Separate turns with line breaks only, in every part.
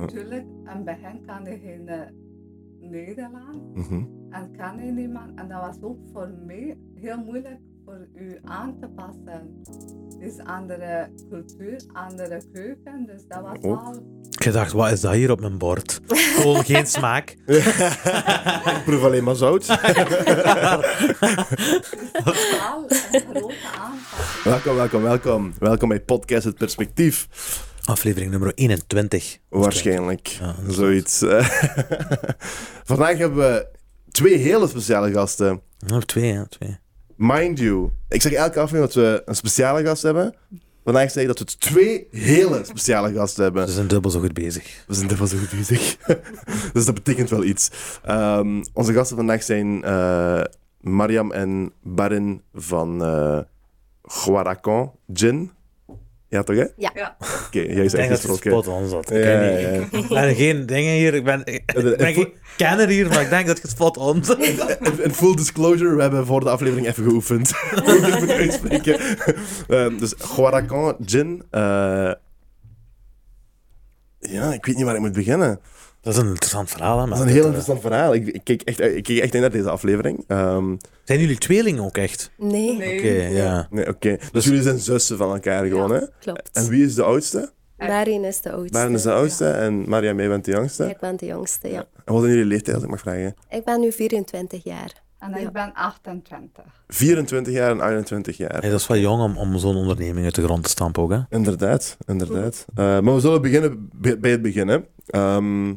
natuurlijk. En bij hen kan hij geen eh, Nederlands
Mhm.
en kan hij niemand. En dat was ook voor mij heel moeilijk voor u aan te passen. Het is andere cultuur, andere keuken, dus dat was
Ook.
wel...
Ik dacht, wat is dat hier op mijn bord? Gewoon geen smaak.
Ik proef alleen maar zout.
Het is wel een grote aanpassing.
welkom, welkom, welkom. Welkom bij Podcast Het Perspectief.
Aflevering nummer 21.
Waarschijnlijk.
inderdaad.
Zoiets. eh. Vandaag hebben we twee hele speciale gasten.
Oh, twee, ja, twee.
Mind you, ik zeg elke aflevering dat we een speciale gast hebben. Vandaag zeg ik dat we twee hele speciale gasten hebben.
Ze zijn dubbel zo goed bezig.
We zijn er wel zo goed bezig. dus dat betekent wel iets. Ehm, onze gasten vandaag zijn eh, Mariam en Barin van eh Guaracon Gin. Ja, toch hè? Oké,
Ja,
jij zei
Ik denk dat
gisteren
het
ook. hè?
spot on zat. Ik
Ja,
weet
ja,
niet.
ja.
Ik ben geen dingen hier. Ik ben, ik
de-
ben geen kenner hier, maar ik denk dat je spot on zat.
En- en full disclosure, we hebben voor de aflevering even geoefend. Hoe ik dit moet uitspreken. Ehm, dus Guaracon Gin. eh, ja, ik weet niet waar ik moet beginnen.
Dat is een interessant verhaal, hè,
Dat
maar
is een heel interessant verhaal. Ik, ik, keek echt, ik keek echt in naar deze aflevering. Ehm,
Zijn jullie tweelingen ook echt?
Nee,
nee.
Oké, ja.
Nee, oké. Dus jullie zijn zussen van elkaar gewoon, hè? En
klopt.
wie is de oudste?
Daarin is de oudste.
Maren is de oudste en Mariam, jij bent de jongste.
Ik ben de jongste, ja.
En wat is jullie leeftijd, als ik mag vragen?
Ik ben nu 24 jaar.
En ik ben 28.
24 jaar en 28 jaar.
Nee, dat is wel jong om, om zo'n onderneming uit de grond te stampen ook, hè?
Inderdaad, inderdaad. Eh, maar we zullen beginnen bij bij het begin, hè. Ehm,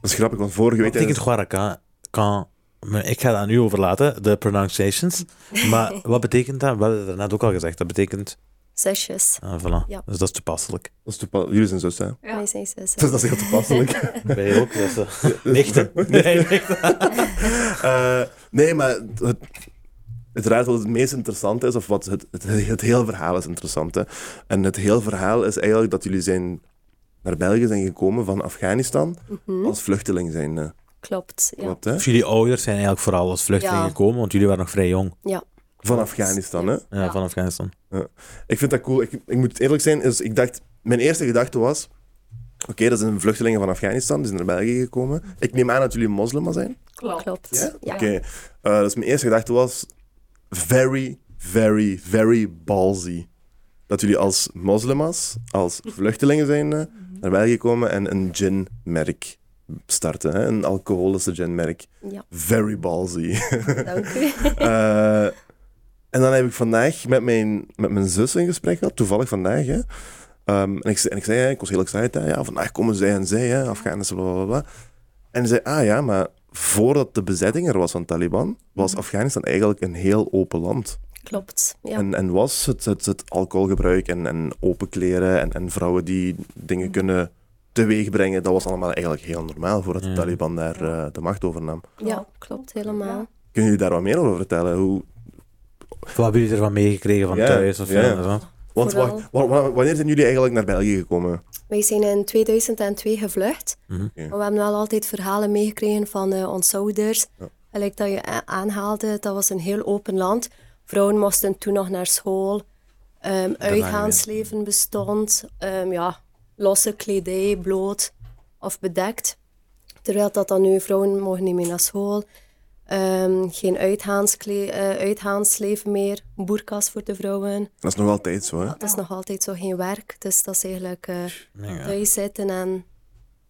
dat is grappig, want vorige
Ik
week...
denk het Guaraca kan... maar Ik ga dat aan u overlaten, de pronunciations. Maar wat betekent dat? We hadden het net ook al gezegd. Dat betekent...
Zusjes.
Ah, voilà.
Ja.
Dus dat is toepasselijk.
dat is toepa- Jullie zijn zussen, hè?
Ja.
Wij zijn zussen.
Dus dat is heel toepasselijk.
Wij ook, dat is... Nichten. Nee, nichten.
Eh, nee, maar het, het, het raadt wat het meest interessante is, of wat het, het, het hele verhaal is interessant. Hè. En het hele verhaal is eigenlijk dat jullie zijn naar België zijn gekomen van Afghanistan als vluchteling zijn. eh.
Klopt, Mhm. ja.
Klopt, hè?
Dus jullie ouders zijn eigenlijk vooral als vluchtelingen
Ja.
gekomen, want jullie waren nog vrij jong. eh,
Ja,
Van Afghanistan, hè?
Ja, van Afghanistan.
Ik vind dat cool. Ik, ik moet eerlijk zijn, dus ik dacht, mijn eerste gedachte was... Oké, dat zijn vluchtelingen van Afghanistan, die zijn naar België gekomen. Ik neem aan dat jullie moslimmen zijn.
Klopt.
klopt.
Ja?
Ja.
Oké. Eh, dus mijn eerste gedachte was... Very, very, very ballsy. Dat jullie als moslimas, als vluchtelingen zijn, eh, naar België komen en een gin-merk starten. Hè? Een alcoholische gin-merk.
Ja,
Very ballsy.
dank u.
Eh, en dan heb ik vandaag met mijn, met mijn zus een gesprek gehad, toevallig vandaag. Hè. Ehm, en, ik, ze- en ik zei, hè, ik was heel excited, hè, ja, vandaag komen zij en zij, hè, Afghanistan, bla bla bla. En ze zei, ah ja, maar voordat de bezetting er was van Taliban, was Afghanistan eigenlijk een heel open land.
Klopt, Mhm. ja.
En, en was het, het, het alcoholgebruik en, en open kleren en, en vrouwen die dingen kunnen teweegbrengen, dat was allemaal eigenlijk heel normaal voordat de Taliban daar eh, de macht overnam.
Ja, klopt helemaal.
Kunnen jullie daar wat meer over vertellen? Hoe,
Wat hebben jullie ervan meegekregen van eh,
Ja,
thuis? Of
ja.
ja, zo?
Want
Vooral-
wacht, wa- wa- wanneer zijn jullie eigenlijk naar België gekomen?
Wij zijn in 2002 gevlucht.
Ja.
Maar we hebben wel altijd verhalen meegekregen van eh onze ouders. Gelijk dat je a- aanhaalde, dat was een heel open land. Vrouwen moesten toen nog naar school. Ehm, uitgaansleven bestond. Ehm, ja, losse kledij, bloot of bedekt. Terwijl dat dan nu, vrouwen mogen niet meer naar school. Ehm, geen uitgaanskle- eh, uitgaansleven meer. Boerkas voor de vrouwen.
Dat is nog altijd zo, hè?
Dat is nog altijd zo geen werk. Dus dat is eigenlijk eh thuis zitten en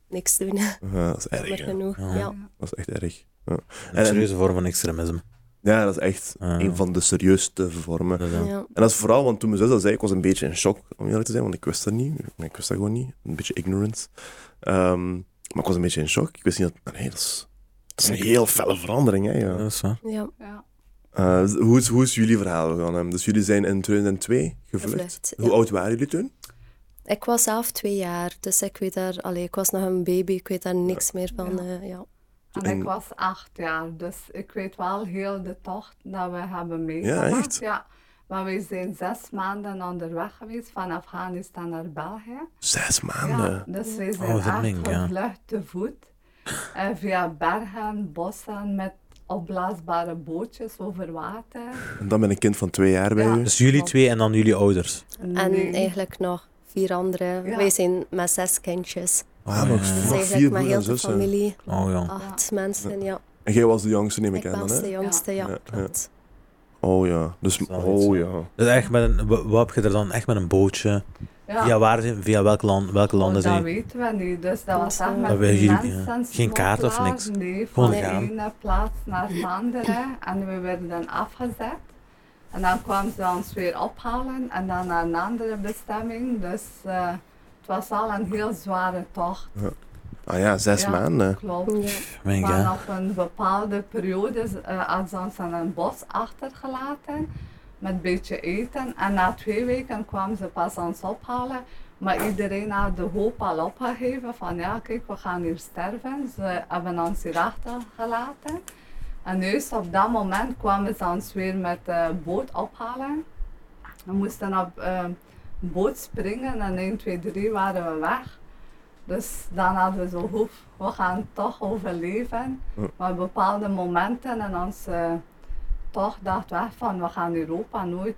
niks doen.
Ja, dat is
Maar
erg. hè.
genoeg. Ja.
Dat is echt erg. Ja,
Een
en, en-
serieuze vorm van extremisme.
ja dat is echt een van de serieusste vormen.
Ja.
En dat is vooral, want toen mijn zus dat zei, ik was een beetje in shock, om eerlijk te zijn, want ik wist dat niet. Ik wist dat gewoon niet. Een beetje ignorance. Ehm, maar ik was een beetje in shock. Ik wist niet dat... Nee, dat is, dat is een heel felle verandering, hè. Ja.
Dat is waar.
ja.
Ja.
Eh, hoe, is, hoe is jullie verhaal gegaan? hè? Dus jullie zijn in 2002 gevlucht.
Gevlucht, ja.
Hoe oud waren jullie toen?
Ik was zelf twee jaar, dus ik weet daar, allee, ik was nog een baby, ik weet daar niks meer van. eh, ja.
En, ik was acht jaar, dus ik weet wel heel de tocht dat we hebben meegemaakt.
echt?
Ja. Maar we zijn zes maanden onderweg geweest van Afghanistan naar België.
Zes maanden.
Ja, dus we zijn
Oh, wat een
echt
mink, ja.
gevlucht te voet. En via bergen, bossen met opblaasbare bootjes over water.
En dan ben ik kind van twee jaar bij
Ja.
u.
Dus jullie twee en dan jullie ouders.
En eh,
Nee.
eigenlijk nog vier andere.
Ja.
Wij zijn met zes kindjes.
Ah, nog,
ja.
nog
Zeg
vier
ik met
broers
heel
en
de
zussen.
familie.
Oh ja.
Acht mensen, ja.
En jij was de jongste, neem
Ik
ik, aan.
was
Dan,
de
hè?
jongste,
Ja.
ja.
Ja,
klopt.
Oh ja. Dus,
Dat is wel
oh
iets.
ja.
Dus echt met een, wa- wat heb je er dan? Echt met een bootje? Via waar, zijn- via welk land, welke landen
Oh, dat
zijn
weten we niet. Dus dat was echt
Dat
met
weet je niet,
mensen
ja. Geen kaart of
smokkelaars.
niks.
Nee,
Gewoon
van de
gaan.
ene plaats naar de andere. En we werden dan afgezet. En dan kwamen ze ons weer ophalen en dan naar een andere bestemming. Dus eh, het was al een heel zware tocht.
Ah ja, zes
Ja.
maanden.
Klopt.
Ja.
Mijn
Maar
god.
op een bepaalde periode eh hadden ze ons aan een bos achtergelaten met een beetje eten. En na twee weken kwamen ze pas ons ophalen. Maar iedereen had de hoop al opgegeven van ja, kijk, we gaan hier sterven. Ze hebben ons hier achtergelaten. En juist op dat moment kwamen ze ons weer met de boot ophalen. We moesten op eh, een boot springen en 1, 2, 3 waren we weg. Dus dan hadden we zo hoef, we gaan toch overleven.
Hm.
Maar bepaalde momenten in onze toch dacht weg van we gaan Europa nooit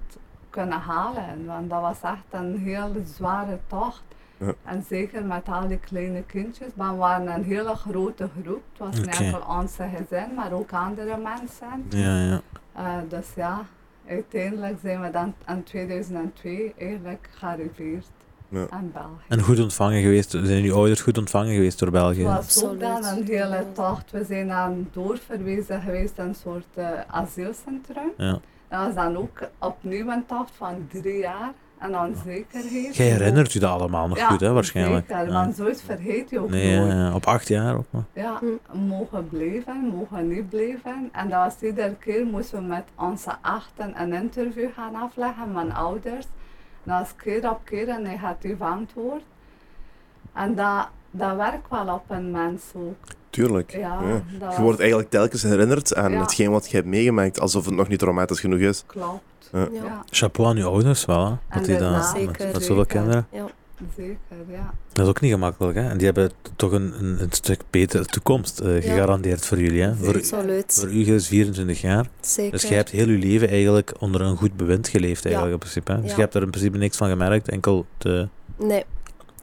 kunnen halen. Want dat was echt een heel zware tocht.
Ja.
En zeker met al die kleine kindjes. Maar we waren een hele grote groep. Het was niet
Oké.
enkel onze gezin, maar ook andere mensen.
Ja, ja.
Eh, dus ja, uiteindelijk zijn we dan in 2002 eigenlijk gearriveerd
Ja.
in België.
En goed ontvangen geweest, zijn jullie ouders goed ontvangen geweest door België?
Het was ook
Absoluut.
dan een hele tocht. We zijn dan doorverwezen geweest in een soort eh, asielcentrum.
Ja.
Dat was dan ook opnieuw een tocht van drie jaar en onzekerheid.
Jij herinnert u dat allemaal nog
Ja,
goed, hè, waarschijnlijk.
Zeker,
Ja.
want zoiets vergeet je ook
Nee,
nooit.
eh, op acht jaar ook. maar-
Ja,
Hm.
mogen blijven, mogen niet blijven. En dat was iedere keer moesten we met onze achten een interview gaan afleggen, mijn ouders. En dat was keer op keer een negatief antwoord. En dat, dat werkt wel op een mens ook.
Tuurlijk.
Ja,
Ja.
dat
Je wordt eigenlijk telkens herinnerd aan
Ja.
hetgeen wat je hebt meegemaakt, alsof het nog niet traumatisch genoeg is.
klopt.
Ja.
Ja,
Ja.
Chapeau aan uw ouders wel, hè? Dat die
Inderdaad.
dat met,
Zeker,
met zoveel
zeker.
kinderen.
zeker, ja.
Dat is ook niet gemakkelijk, hè? En die hebben toch een, een, een stuk betere toekomst eh,
Ja.
gegarandeerd voor jullie, hè? Voor,
Absoluut,
voor u is 24 jaar.
zeker.
Dus je hebt heel je leven eigenlijk onder een goed bewind geleefd,
eh, Ja.
eigenlijk, in principe. Hè? Dus
Ja.
je hebt er in principe niks van gemerkt, enkel de,
Nee,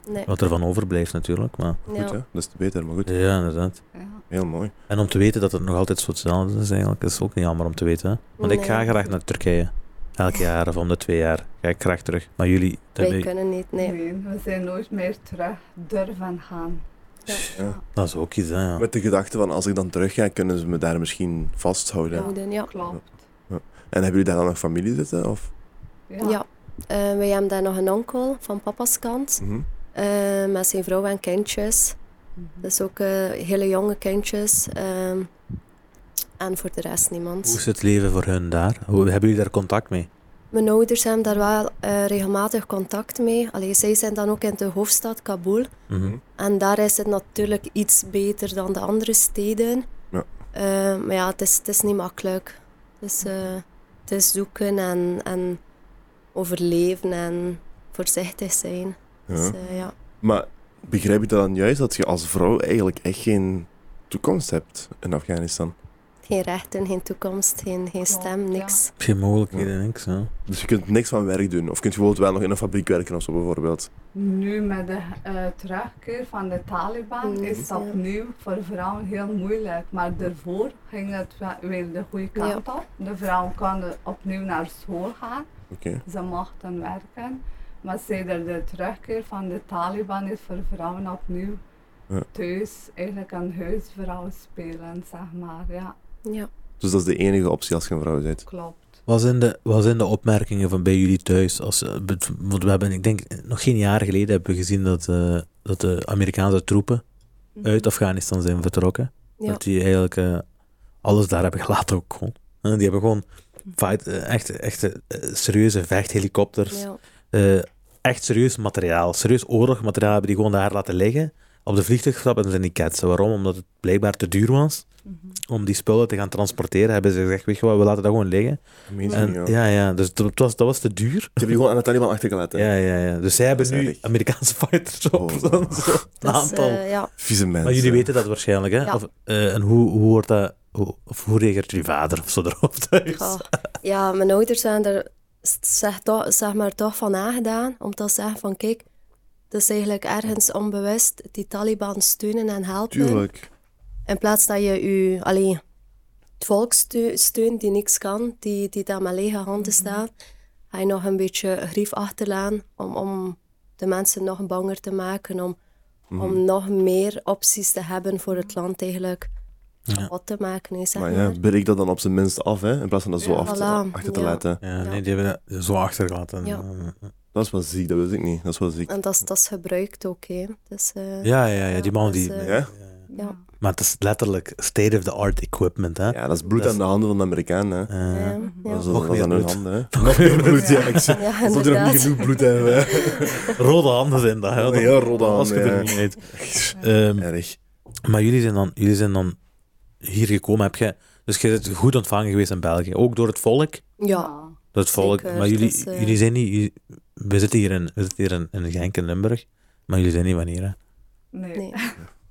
nee.
wat er van overblijft natuurlijk. Maar,
Goed, hè?
Ja.
Dat is te beter, maar goed.
ja, inderdaad.
ja.
Heel mooi.
En om te weten dat het nog altijd zo hetzelfde is, eigenlijk, is ook niet jammer om te weten. Hè? Want ik ga
Nee.
graag naar Turkije. Elk jaar of om de twee jaar ga ik graag terug. Maar jullie, dat,
Wij
weet-
kunnen niet,
Nee.
nee.
we zijn nooit meer terug durven gaan.
Ja.
dat is ook iets, hè? Ja.
Met de gedachte van, als ik dan terug ga, kunnen ze me daar misschien vasthouden.
Ja.
Houden, ja.
Klopt.
En hebben jullie daar dan nog familie zitten? Of?
Ja.
Ja. Eh, wij hebben daar nog een onkel van papa's kant.
Mhm.
eh, met zijn vrouw en kindjes.
Mhm.
Dus ook eh, hele jonge kindjes. ehm, en voor de rest niemand.
Hoe is het leven voor hun daar? Hoe, hebben jullie daar contact mee?
Mijn ouders hebben daar wel eh, regelmatig contact mee. Allee, zij zijn dan ook in de hoofdstad Kabul.
Mhm.
En daar is het natuurlijk iets beter dan de andere steden.
Ja.
Eh, maar ja, het is, het is niet makkelijk. Dus eh, het is zoeken en, en overleven en voorzichtig zijn.
Ja.
Dus, eh, ja.
Maar begrijp je dan juist dat je als vrouw eigenlijk echt geen toekomst hebt in Afghanistan?
Geen rechten, geen toekomst, geen, geen stem,
ja.
niks.
Geen mogelijkheden, niks. Hè?
Dus je kunt niks van werk doen. Of kunt je bijvoorbeeld wel nog in een fabriek werken of zo bijvoorbeeld.
Nu met de eh, terugkeer van de Taliban
Mm,
is dat
ja.
opnieuw voor vrouwen heel moeilijk. Maar daarvoor ging het we- weer de goede kant op. De vrouwen konden opnieuw naar school gaan.
Oké.
Ze mochten werken. Maar sinds de terugkeer van de Taliban is voor vrouwen opnieuw
Ja.
thuis eigenlijk een huisvrouw spelen, zeg maar. Ja,
Ja.
Dus dat is de enige optie als je een vrouw bent.
klopt.
Wat zijn de, wat zijn de opmerkingen van bij jullie thuis? Als, eh, bet- want we hebben, ik denk, nog geen jaar geleden hebben we gezien dat, eh, dat de Amerikaanse troepen uit Afghanistan zijn vertrokken.
Mhm. Ja.
Dat die eigenlijk eh, alles daar hebben gelaten ook gewoon. Eh, die hebben gewoon
Mhm.
fight, eh, echt, echt eh, serieuze vechthelikopters.
Ja.
eh, echt serieus materiaal, serieus oorlogmateriaal hebben die gewoon daar laten liggen. Op de vliegtuigstap en zijn die ketsen. Waarom? Omdat het blijkbaar te duur was om die spullen te gaan transporteren. Hebben ze gezegd, weet je wat, we laten dat gewoon liggen.
Amazing,
En,
ja.
ja, ja, dus dat dat was, dat was te duur.
Je hebt die gewoon aan de Taliban achtergelaten.
Ja, ja, ja. Dus zij hebben
Dat is
nu
erg.
Amerikaanse fighters op.
Oh.
Zo, een
Dus,
aantal.
eh, ja.
Vieze mensen.
maar jullie weten dat waarschijnlijk, hè?
Ja.
Of, eh, en hoe, hoe wordt dat... Hoe, of hoe reageert je vader of zo erop thuis?
Dus.
Goh. Ja, mijn ouders zijn er s- zeg, toch, zeg maar, toch van aangedaan. Om te zeggen van, kijk, het Dat is eigenlijk ergens onbewust die Taliban steunen en helpen.
Tuurlijk.
In plaats dat je u, allee, het volk steu- steunt die niks kan, die, die daar met lege handen
Mhm.
staat, ga je nog een beetje grief achterlaan om, om de mensen nog banger te maken, om,
Mhm.
om nog meer opties te hebben voor het land eigenlijk kapot te maken. hè, Zeg
Maar
maar
ja, breek dat dan op zijn minst af, hè, in plaats van dat zo
Ja,
achter,
voilà.
achter te
Ja.
laten.
Ja, nee, die hebben dat zo achtergelaten.
Ja.
Dat is wel ziek, dat wist ik niet. Dat is wel ziek.
En dat is, dat is gebruikt ook, hè. Dus, eh,
Ja, ja, ja, die man die...
dus, eh,
Ja?
ja.
Maar het is letterlijk state-of-the-art equipment, hè.
ja, dat is bloed aan de handen van de Amerikanen. Hè.
Eh,
Ja, ja.
Dat is, dat
Nog
is
meer
aan hun
bloed.
handen. Hè. Nog meer bloed, ja. Ik
Ja,
zeg, alsof die nog
inderdaad.
niet genoeg bloed hebben. Hè.
rode handen zijn dat, hè.
Ja, heel rode
Als je
handen,
het er
ja.
niet uit. Ehm,
Erg.
Maar jullie zijn, dan, jullie zijn dan hier gekomen, heb je... Dus je bent goed ontvangen geweest in België. Ook door het volk.
ja.
Door het volk.
Zeker,
maar jullie,
dus, eh,
jullie zijn niet... jullie- we zitten hier, in, we zitten hier in, in Genk in Limburg. Maar jullie zijn niet wanneer, hè.
Nee.
Nee.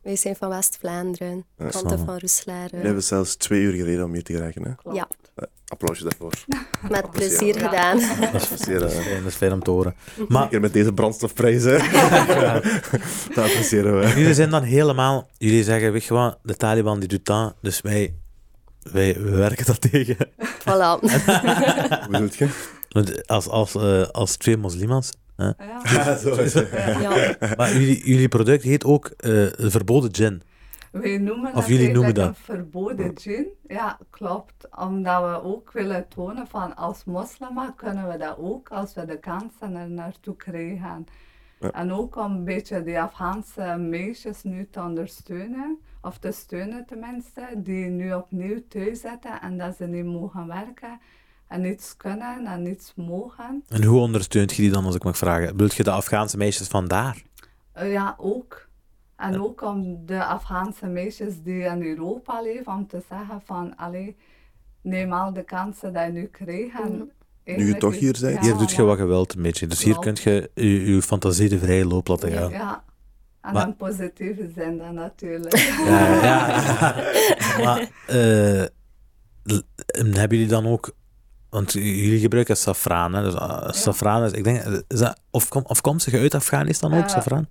Wij zijn van West-Vlaanderen, kanten
snap.
van Roeselare.
We hebben zelfs twee uur gereden om hier te geraken. Hè. Eh,
klopt.
Ja.
Applausje daarvoor.
Met plezier
Ja.
gedaan.
Dat is zeer, eh,
Fijn, Dat is fijn om te horen. Maar
Zeker met deze brandstofprijzen. dat appreciëren we.
Jullie zijn dan helemaal, jullie zeggen, weet je wat, de Taliban die doet dat, dus wij, wij werken dat tegen.
Voilà.
Hoe bedoelt je?
Want Als, als, eh, als twee moslims.
Ja.
Zo is het.
Ja.
Maar jullie, jullie product heet ook eh, verboden gin.
Wij noemen
Of
dat
jullie noemen
eigenlijk een
dat?
verboden gin. Ja, klopt. Omdat we ook willen tonen van als moslima kunnen we dat ook als we de kansen er naartoe krijgen. En ook om een beetje die Afghaanse meisjes nu te ondersteunen, of te steunen tenminste, die nu opnieuw thuis zitten en dat ze niet mogen werken en niets kunnen en niets mogen.
En hoe ondersteunt je die dan, als ik mag vragen? Bedoelt je de Afghaanse meisjes vandaar?
Eh, ja, ook. En
Eh.
ook om de Afghaanse meisjes die in Europa leven, om te zeggen van, allee, neem al de kansen die je nu krijgt. en
Nu je toch
eigenlijk-
hier bent.
Ja,
Hier doet je
ja.
wat je wilt, een beetje. Dus hier kun
Klopt.
je je, je fantasie de vrije loop laten gaan. Ja,
Ja, en
Maar-
dan positieve zijn dan natuurlijk.
ja. maar eh, l- en hebben jullie dan ook... Want jullie gebruiken safraan, hè? Dus, eh, safraan is, ik denk, eh, is dat, of, kom, of komt ze uit Afghanistan ook,
Eh,
safraan?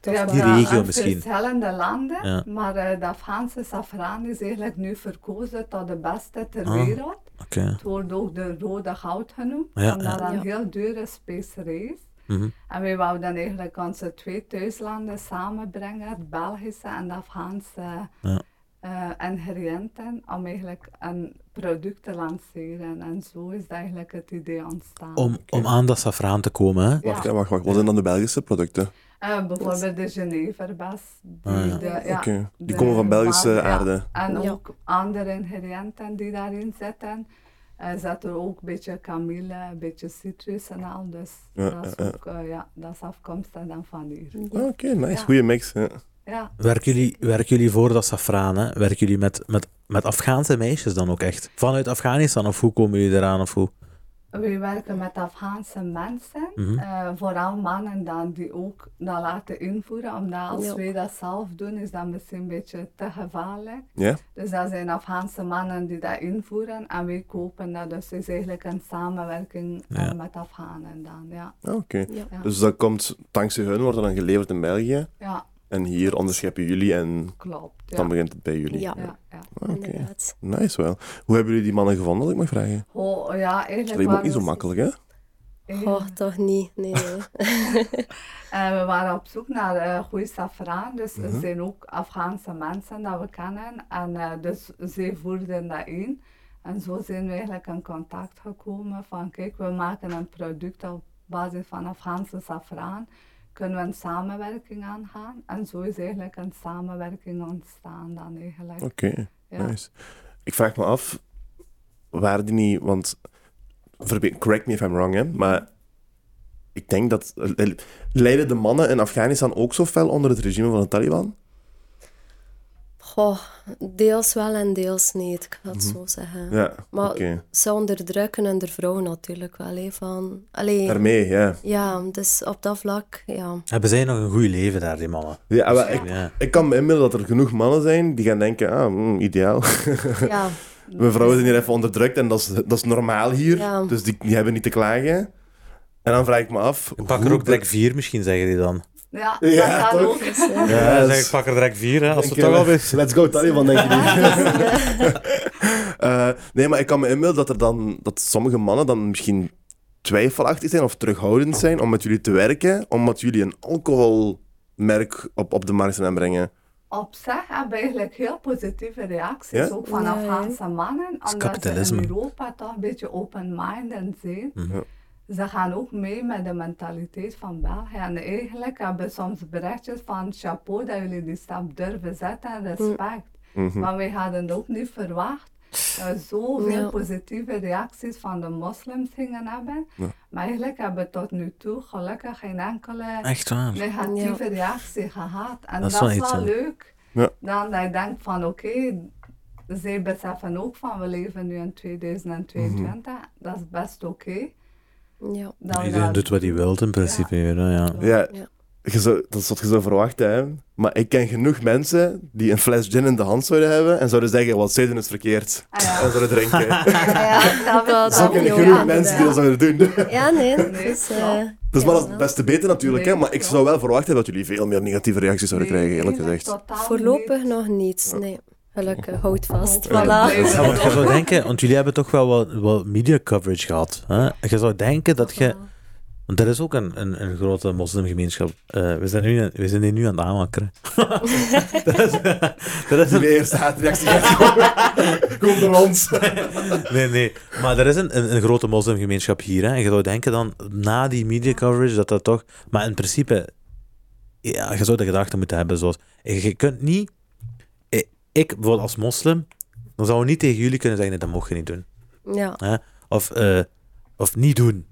We hebben
die
dat
regio
aan
misschien.
verschillende landen,
Ja.
maar eh, de Afghaanse safraan is eigenlijk nu verkozen tot de beste ter
Ah.
wereld.
Oké.
Het wordt ook de rode goud genoemd,
Ja,
omdat
ja.
dat een
Ja.
heel dure specerij is.
Mhm.
En wij wouden dan eigenlijk onze twee thuislanden samenbrengen, het Belgische en de Afghaanse
Ja.
eh, ingrediënten, om eigenlijk een product te lanceren. En zo is eigenlijk het idee ontstaan.
Om, om aan dat safraan te komen, hè?
Ja.
Wacht, hè, wacht, wacht. Wat zijn dan de Belgische producten?
Eh, bijvoorbeeld de Geneverbas. Die,
Ah, ja.
de, ja,
Oké. Die
de
komen van Belgische
basis, ja.
aarde.
En
Ja.
ook andere ingrediënten die daarin zitten. Eh zat er ook een beetje kamille, een beetje citrus en al. Dus
Ja,
dat, is
ja, ja.
ook, eh, ja, dat is afkomstig dan van hier.
Ah, Oké, nice.
Ja.
Goeie mix. hè.
Ja.
Werken jullie, werken jullie voor dat safraan, hè? Werken jullie met, met, met Afghaanse meisjes dan ook echt? Vanuit Afghanistan, of hoe komen jullie eraan, of hoe?
We werken met Afghaanse mensen,
Mhm.
eh, vooral mannen dan, die ook dat laten invoeren. Omdat als
Ja.
wij dat zelf doen, is dat misschien een beetje te gevaarlijk.
Ja?
Dus dat zijn Afghaanse mannen die dat invoeren en wij kopen dat. Dus het is eigenlijk een samenwerking eh,
Ja.
met Afghanen dan. Ja,
Ah, Oké.
Ja.
Dus dat komt, dankzij hun wordt dat dan geleverd in België.
ja
En hier onderscheppen jullie en
klopt. Ja.
dan begint het bij jullie.
Ja,
ja, ja.
Ah, Oké.
inderdaad.
Nice wel. Hoe hebben jullie die mannen gevonden, als ik mag vragen?
Oh, ja,
Dat
eigenlijk
lijkt me ook
waren
niet zo
we-
makkelijk, hè?
Oh, toch niet. Nee, nee.
Eh, we waren op zoek naar eh goede safraan, dus er zijn ook Afghaanse mensen dat we kennen. En eh, dus ze voerden dat in. En zo zijn we eigenlijk in contact gekomen van kijk, we maken een product op basis van Afghaanse safraan. Kunnen we een samenwerking aangaan? En zo is eigenlijk een samenwerking ontstaan dan eigenlijk.
Oké,
Ja.
nice. Ik vraag me af, waren die niet, want, verbe- correct me if I'm wrong, hè, maar ik denk dat, leiden de mannen in Afghanistan ook zo fel onder het regime van de Taliban?
Goh, deels wel en deels niet, ik ga het zo zeggen.
Mhm. Ja,
Maar
oké.
ze onderdrukken en de vrouwen natuurlijk wel. hè, van, allee,
Daarmee, ja.
ja, dus op dat vlak, ja.
Hebben zij nog een goed leven daar, die mannen?
ja maar Dus ik,
Ja.
ik kan me inmiddelen dat er genoeg mannen zijn die gaan denken, ah, mm, ideaal.
ja.
Mijn vrouwen zijn hier even onderdrukt en dat is, dat is normaal hier,
Ja.
dus die, die hebben niet te klagen. En dan vraag ik me af...
Pak er
hoe
ook direct vier, misschien zeggen die dan.
Ja,
Ja,
dat gaat
toch?
ook.
Ja, dan zeg ik pak er direct vier, hè, als we
Denk
toch
je,
al weer...
Let's go Taliban, denk ik Eh, nee, maar ik kan me inbeelden dat, er dan, dat sommige mannen dan misschien twijfelachtig zijn of terughoudend zijn om met jullie te werken, omdat jullie een alcoholmerk op, op de markt zijn aan het brengen.
Op zich hebben we eigenlijk heel positieve reacties,
Ja?
ook van
Ja, ja.
Afghaanse mannen. Omdat ze
kapitalisme.
in Europa toch een beetje open-minded zijn.
Mhm. Ja.
Ze gaan ook mee met de mentaliteit van België. En eigenlijk hebben we soms berichtjes van chapeau dat jullie die stap durven zetten en respect.
Mhm.
Maar wij hadden het ook niet verwacht. dat we Zoveel
Ja.
positieve reacties van de moslims gingen hebben. Maar eigenlijk hebben we tot nu toe gelukkig geen
Ah,
enkele
Echt waar.
negatieve reactie gehad. En
Dat
dat,
is wel
is
iets,
wel
hè.
leuk.
Ja.
Dan dat je denkt van oké, zij beseffen ook van we leven nu in 2022.
Mhm.
Dat is best oké.
Ja.
Dan
Iedereen
dat-
doet wat hij wil, in principe. Ja. Ja.
Ja,
Ja.
je zou- dat is wat je zou verwachten, hè. Maar ik ken genoeg mensen die een fles gin in de hand zouden hebben en zouden zeggen, wat zij doen is verkeerd.
Ah, ja.
En zouden drinken.
Ah, Ja, dat
Dat
Zo
dat
ook
ken ik
Ja,
genoeg
inderdaad.
mensen die dat zouden doen.
Ja, nee. dat
Nee,
is, eh,
klopt.
Dat is wel het beste beter natuurlijk, hè. Maar ik
Ja.
zou wel verwacht hebben dat jullie veel meer negatieve reacties zouden
Nee,
krijgen, eerlijk
nee,
gezegd.
totaal niet.
voorlopig nog niets. Nee. Gelukkig, houd vast.
Ja.
Voilà.
Ja.
Ja, want je zou denken, want jullie hebben toch wel wat, wat media coverage gehad. Hè? Je zou denken dat je. Want er is ook een, een, een grote moslimgemeenschap. Eh, we, zijn nu, we zijn die nu aan het aanwakkeren. dat is, dat is
Die
een,
eerste haatreactie Kom naar ons.
nee, nee. Maar er is een, een, een grote moslimgemeenschap hier. Hè? En je zou denken dan, na die media coverage, dat dat toch. Maar in principe, ja, je zou de gedachte moeten hebben zoals. Je je kunt niet. Ik, ik bijvoorbeeld als moslim, dan zou niet tegen jullie kunnen zeggen: nee, dat mocht je niet doen.
Ja.
Hè? Of, eh, of niet doen.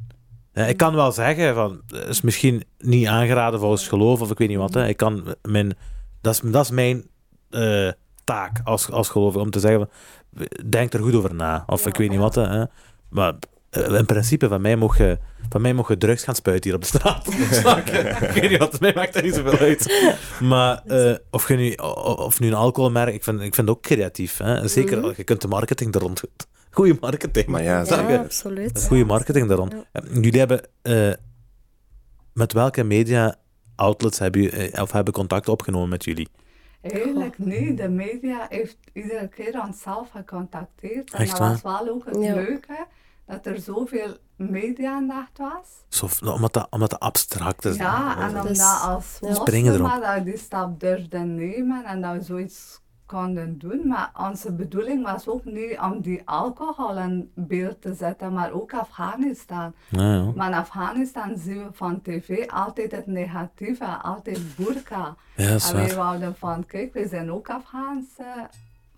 Hè, ik kan wel zeggen, van, eh, is misschien niet aangeraden volgens geloof of ik weet niet wat. Hè. Ik kan mijn, dat, is, dat is mijn eh, taak als, als gelovige, om te zeggen, van, denk er goed over na. Of ik weet niet wat. Hè. Maar eh, in principe, van mij mocht je, van mij mocht je drugs gaan spuiten hier op de straat. Snap je? ik weet niet wat, mij maakt dat niet zoveel uit. Maar eh, of, je nu, o- o- of nu een alcoholmerk, ik vind, ik vind het ook creatief. Hè. Zeker, je kunt de marketing er rond... Goeie marketing.
Maar ja,
Ja,
snap je?
Dat is
absoluut.
goede marketing daarom. Eh, Jullie hebben eh, met welke media outlets hebben jullie, eh, of hebben contact opgenomen met jullie?
Eigenlijk niet.
Mhm.
De media heeft iedere keer onszelf gecontacteerd. En
Echt
dat was wel ook het
Ja.
leuke, dat er zoveel media-aandacht was.
Zo, nou, omdat, dat, omdat dat abstract Dus is.
Ja, en
dat
omdat
is-
als
Springen
moslim
erop.
maar dat we die stap durfden nemen en dat we zoiets konden doen. Maar onze bedoeling was ook niet om die alcohol in beeld te zetten, maar ook Afghanistan.
Ja, ja.
Maar in Afghanistan zien we van tv altijd het negatieve, altijd burka.
Ja, dat is
en wij
waar.
wouden van, kijk, wij zijn ook Afghaanse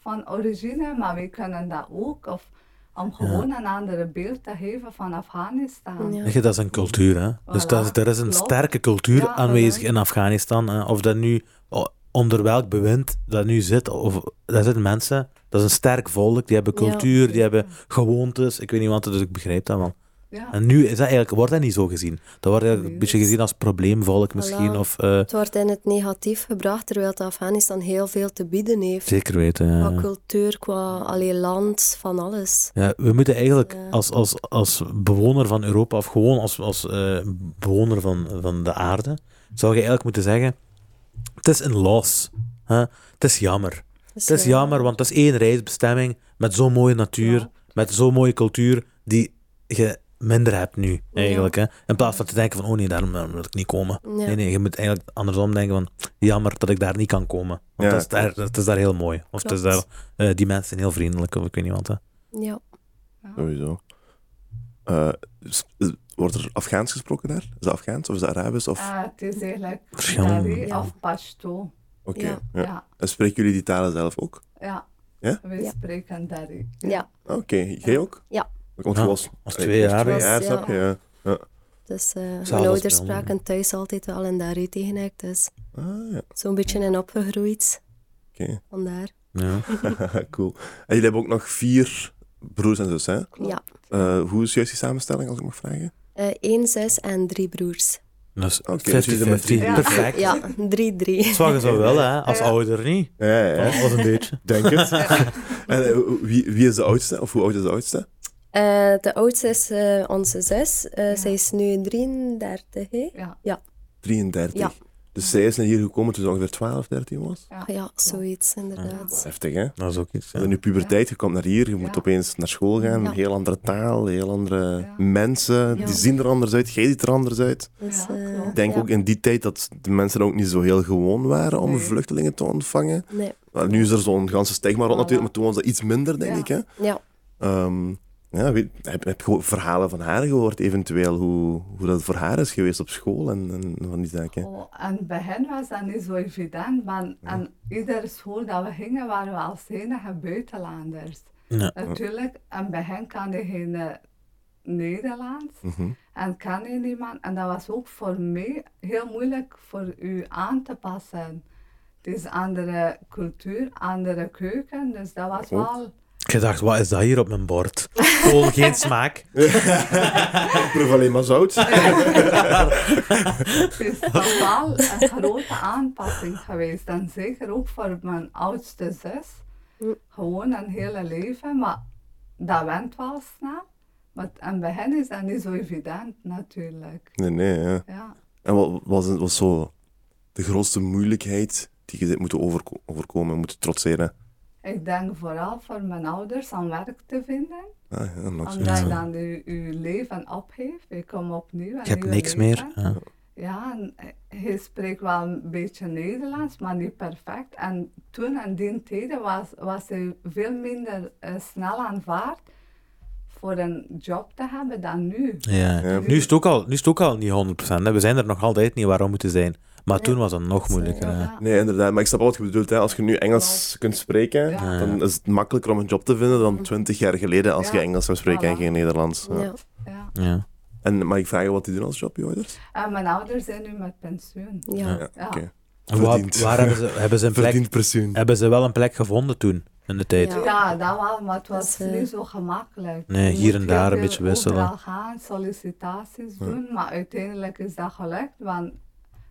van origine, maar wij kunnen dat ook. Of om gewoon een andere beeld te geven van Afghanistan.
Ja.
Weet je, Dat is een cultuur, hè? Dus
Voilà,
dat, is- er is een
klopt.
sterke cultuur
Ja,
aanwezig
voilà.
in Afghanistan. Hè? Of dat nu o- onder welk bewind dat nu zit, of daar zitten mensen, dat is een sterk volk, die hebben
Ja.
cultuur, die hebben gewoontes, ik weet niet wat, dus ik begrijp dat wel.
Ja.
En nu is dat eigenlijk, wordt dat niet zo gezien. Dat wordt eigenlijk een
Nee, dus-
beetje
dat is-
gezien als probleemvolk misschien.
Voilà.
Of, eh,
Het wordt in het negatief gebracht, terwijl het Afghanistan heel veel te bieden heeft.
zeker weten. eh. ja.
Qua cultuur, qua alleen land, van alles.
Ja, we moeten eigenlijk
Ja.
als, als, als bewoner van Europa, of gewoon als, als eh, bewoner van, van de aarde, zou je eigenlijk moeten zeggen: Het is een loss. Hè? Het is jammer.
Dus,
Het is
eh,
jammer, want het is één reisbestemming met zo'n mooie natuur, met zo'n mooie cultuur, die je minder hebt nu, eigenlijk. Hè? In plaats van te denken van, oh nee, daar daar wil ik niet komen.
Ja.
Nee, nee, je moet eigenlijk andersom denken van, jammer dat ik daar niet kan komen. Want
Ja,
het, is daar, het is daar heel mooi. Of het is daar,
Klopt.
eh, die mensen zijn heel vriendelijk, of ik weet niet wat. Hè?
Ja.
Sowieso. Eh, s- eh, wordt er Afghaans gesproken daar? Is dat Afghaans of is dat Arabisch? Of...
Eh, het is eigenlijk
Verschillende.
Dari
Ja.
of Pashto.
Oké.
ja.
ja.
Ja,
En spreken jullie die talen zelf ook?
ja.
Ja?
We
Ja.
spreken Dari.
ja,
Oké, jij ook?
Ja.
Dan komt
Ja,
je eh, als,
als twee jaar,
Twee
hè.
jaar,
Ja.
snap je? Ja.
dus eh,
Zelfs
mijn ouders
bij ons.
spraken thuis altijd wel en daar tegen ik. Dus
Ah, ja.
zo'n beetje in opgegroeid,
Oké,
vandaar.
Ja.
cool. En jullie hebben ook nog vier broers en zus, hè?
Ja.
Eh, hoe is juist die samenstelling, als ik mag vragen?
Eh één zus en drie broers.
Dus
Oké,
50-50,
dus jullie zijn met drie.
Ja.
perfect.
Ja, drie, drie.
Zwaar je zo wel, hè? Als
Ja.
ouder niet.
Ja, ja, ja.
Of of een beetje.
Denk het. en eh, wie, wie is de oudste? Of hoe oud is de oudste?
Eh, de oudste is eh, onze zus. Eh,
Ja.
Zij is nu 33. hè?
Ja.
33.
Ja.
Dus zij is naar hier gekomen toen ze ongeveer 12, 13 was.
Ja, zoiets inderdaad.
Heftig, hè?
Dat is ook iets.
In
Ja.
je puberteit, je komt naar hier, je moet
Ja.
opeens naar school gaan.
Ja.
Heel andere taal, heel andere
Ja.
mensen.
Ja.
Die zien er anders uit, jij ziet er anders uit.
Dus,
Ja,
eh,
klopt.
Ik denk
ja.
ook in die tijd dat de mensen ook niet zo heel gewoon waren om
Nee.
vluchtelingen te ontvangen.
Nee.
Maar nu is er zo'n ganse stigma rond
Voilà.
natuurlijk, maar toen was dat iets minder, denk
Ja.
ik. Hè?
Ja.
Ehm, ja, weet- heb, heb je ook verhalen van haar gehoord, eventueel, hoe, hoe dat voor haar is geweest op school en, en van die zaken?
Oh, en bij hen was dat niet zo evident, want aan iedere school dat we gingen waren we als enige buitenlanders.
Ja.
Natuurlijk, en bij hen kan je geen eh, Nederlands
Mhm.
en kan je niemand. En dat was ook voor mij heel moeilijk voor u aan te passen. Het is andere cultuur, andere keuken, dus dat was
Klopt.
wel...
Ik dacht, wat is dat hier op mijn bord? Gewoon geen smaak.
Ik proef alleen maar zout.
Het Dus is toch wel een grote aanpassing geweest. En zeker ook voor mijn oudste zus. Gewoon een hele leven, maar dat went wel snel. Maar aan bij hen is dat niet zo evident natuurlijk.
Nee, nee, ja.
Ja.
En wat was, het- was zo de grootste moeilijkheid die je dit moeten overko- overkomen, moeten trotseren?
Ik denk vooral voor mijn ouders om werk te vinden.
Ah, ja, nog zo.
Omdat je dan je, je leven opheeft. Je komt opnieuw. een
Ik heb
nieuw
niks meer.
leven.
Ja.
Ja, en eh, hij spreekt wel een beetje Nederlands, maar niet perfect. En toen in die tijden was, was hij veel minder eh, snel aanvaard voor een job te hebben dan nu.
Ja.
Ja.
Nu, is het ook al, nu is het ook al niet 100%. Hè. We zijn er nog altijd niet waar we moeten zijn. Maar toen was het nog moeilijker. hè.
Ja.
Nee, inderdaad. Maar ik snap wel wat je bedoelt. Hè. Als je nu Engels kunt spreken,
Ja. Mhm.
dan is het makkelijker om een job te vinden dan twintig jaar geleden als
Ja.
je Engels zou spreken en
Voilà.
geen Nederlands. Ja.
Ja.
Ja.
Ja.
En mag ik vragen wat die doen als job, je ouders?
En mijn ouders zijn nu met pensioen.
Ja.
Ja,
Ja.
oké.
En wa-
Verdiend.
waar hebben ze, hebben, ze een plek,
Verdiend pensioen.
hebben ze wel een plek gevonden toen, in de tijd?
Ja.
Ja, dat wel, maar het was
Dus, eh,
niet zo gemakkelijk.
Nee,
Je
hier
moet
en daar
heel
een beetje
veel
wisselen.
overal gaan, sollicitaties doen, maar uiteindelijk is dat gelukt, want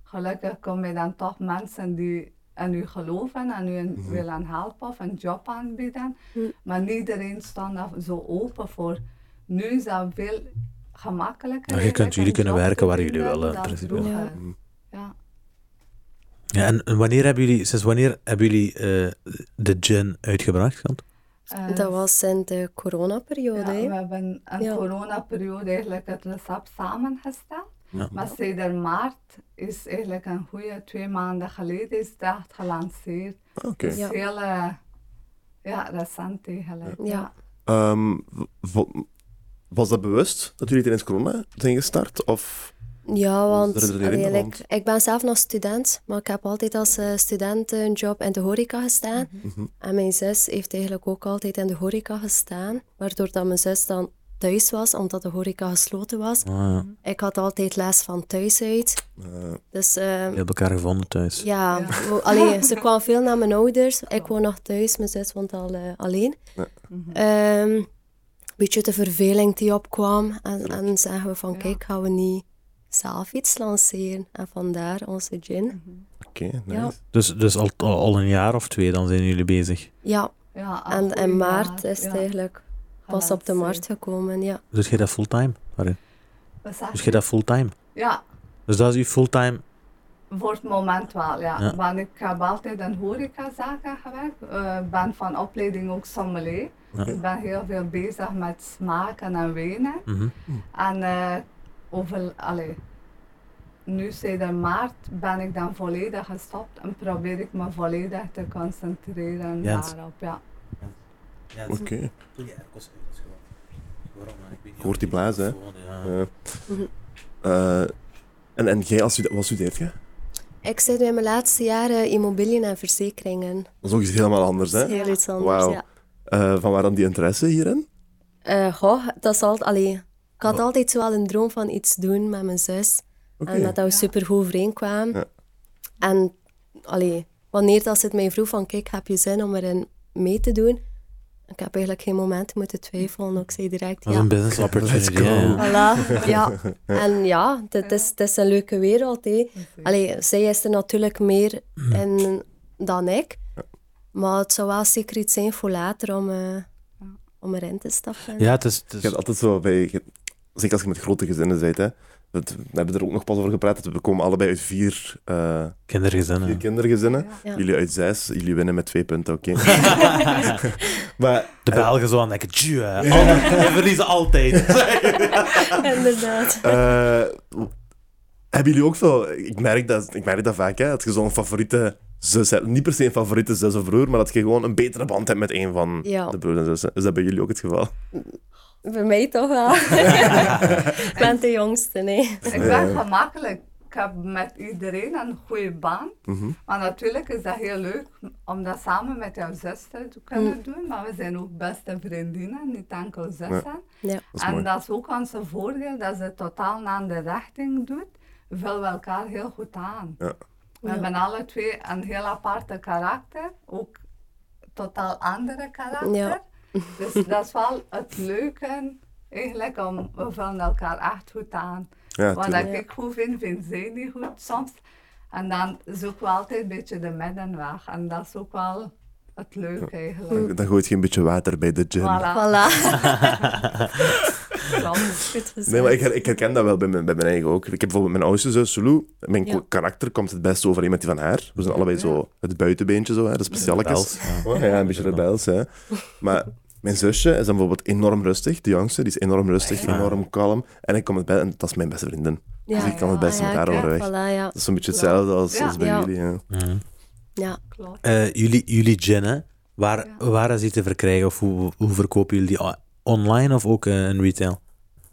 gelukkig kom je dan toch mensen die aan u geloven en u een-
Mhm.
willen helpen of een job aanbieden. Maar niet iedereen stond daar zo open voor. Nu is dat veel gemakkelijker.
Ja, Nou, je
eigenlijk
kunt- jullie
een
kunnen
job te
werken waar jullie
vinden
willen, in
dan
principe.
vroeger.
Ja.
Ja.
Ja, en en wanneer hebben jullie, sinds wanneer hebben jullie eh, de gin uitgebracht? Kant?
Eh,
Dat was in de coronaperiode.
Ja,
hè?
we hebben een
Ja.
coronaperiode eigenlijk het recept samengesteld. Maar sinds maart is eigenlijk een goede twee maanden geleden is dat gelanceerd.
Ah, Oké.
Dus
Ja.
heel eh, ja, recent eigenlijk.
Ja.
Ehm, wa- was dat bewust dat jullie tijdens corona zijn gestart? Of...
Ja, want
er een reden,
allee,
want-
ik, ik ben zelf nog student, maar ik heb altijd als eh, student een job in de horeca gestaan.
Mhm.
En mijn zus heeft eigenlijk ook altijd in de horeca gestaan, waardoor dat mijn zus dan thuis was, omdat de horeca gesloten was.
Ah,
Ik had altijd les van thuis uit.
eh,
Dus eh,
je hebt elkaar gevonden thuis.
ja, we- allee, ze kwam veel naar mijn ouders. Ik woon nog thuis, mijn zus woont al eh, alleen. Ehm, beetje de verveling die opkwam. En, en dan zeggen we van, kijk, gaan we niet zelf iets lanceren? En vandaar onze gin.
Oké, nice.
Ja.
Dus, dus al, al al een jaar of twee dan zijn jullie bezig.
Ja,
Ja, een
en
goede
in maart is
Ah, ja,
het eigenlijk pas op de markt
gelanceerd.
gekomen, ja.
Doet jij Dus dat fulltime? Waarin?
Wat zeg
Doet
je?
jij dat fulltime?
Ja,
Dus dat is uw fulltime?
voor het moment wel, ja.
Ja.
Want ik heb altijd in horecazaken gewerkt. Eh, Ik ben van opleiding ook sommelier. Ik ben heel veel bezig met smaken en wijnen.
Mhm.
En eh, over, allee, nu sinds maart ben ik dan volledig gestopt en probeer ik me volledig te concentreren
Jens.
daarop. Ja.
Oké. Hoort die blazen, hè? Eh, eh, en, en jij, als stude- wat studeert je?
Ik zit in mijn laatste jaren immobiliën en verzekeringen.
Dat is ook iets helemaal anders, hè?
Dat is heel iets anders,
Wauw.
ja.
Eh, van waar dan die interesse hierin?
Eh, goh, dat is altijd... Allee, ik had altijd zo wel een droom van iets doen met mijn zus.
Oké.
En dat we super goed overeenkwamen.
Ja.
En allee, wanneer dat ze het mij vroeg van kijk, heb je zin om erin mee te doen? Ik heb eigenlijk geen moment moeten twijfelen. Ik zei direct
Dat is
ja.
een business opportunity.
go.
ja, ja.
Voilà, ja. En ja, het is, het is een leuke wereld. Hè. Allee, zij is er natuurlijk meer in dan ik. Maar het zou wel zeker iets zijn voor later om, eh, om erin te stappen.
Ja, het is, het
Je hebt
is
altijd zo bij... je- Zeker als je met grote gezinnen bent, hè. We we hebben er ook nog pas over gepraat. dat We komen allebei uit vier, eh, vier
Kindergezinnen.
kindergezinnen.
Ja.
Jullie uit zes. Jullie winnen met twee punten, oké. maar
De Belgen zo aan denken, tjoe, hè. Altijd- we verliezen altijd.
Inderdaad.
eh, hebben jullie ook veel... Ik merk dat, ik merk dat vaak, hè. Dat je zo'n favoriete zus hebt. Niet per se een favoriete zus of broer, maar dat je gewoon een betere band hebt met een van
Ja.
de broers en zussen. Is dat bij jullie ook het geval?
Bij mij toch wel. ik ben de jongste, nee.
Ik ben gemakkelijk. Ik heb met iedereen een goede band. Maar natuurlijk is dat heel leuk om dat samen met jouw zuster te kunnen doen. Maar we zijn ook beste vriendinnen, niet enkel zussen.
Ja.
Dat is
en
mooi.
dat is ook ons voordeel dat ze totaal naar de richting doet. We vullen elkaar heel goed aan.
Ja.
We hebben alle twee een heel aparte karakter, ook totaal andere karakter.
Ja.
Dus dat is wel het leuke eigenlijk, om, we vullen elkaar echt goed aan.
Ja,
Wat
tuurlijk.
ik goed vind, vindt zij niet goed soms. En dan zoeken we altijd een beetje de middenweg. En dat is ook wel het leuke eigenlijk.
Dan gooit je een beetje water bij de gin.
Voilà,
Voilà.
klopt.
Goed gezegd.
Nee, maar ik, her- ik herken dat wel bij mijn, bij mijn eigen ook. Ik heb bijvoorbeeld mijn oudste zus, Sulu. Mijn
Ja.
karakter komt het best overeen met die van haar. We zijn allebei zo het buitenbeentje, zo, hè, de specialekes. Oh, ja, een beetje rebels, hè. Maar mijn zusje is dan bijvoorbeeld enorm rustig. De jongste, die is enorm rustig, enorm kalm. En ik kom het bij en dat is mijn beste vriendin. Dus ik kan het beste
Ah,
met
ja,
haar
kijk,
overweg. Dat
Voilà, ja.
is een beetje hetzelfde als,
Ja.
als bij
Ja.
jullie, ja.
ja.
klopt.
Eh, jullie, jullie gin, hè. Waar, waar is die te verkrijgen? Of hoe, hoe verkopen jullie die? O- Online of ook eh, in retail?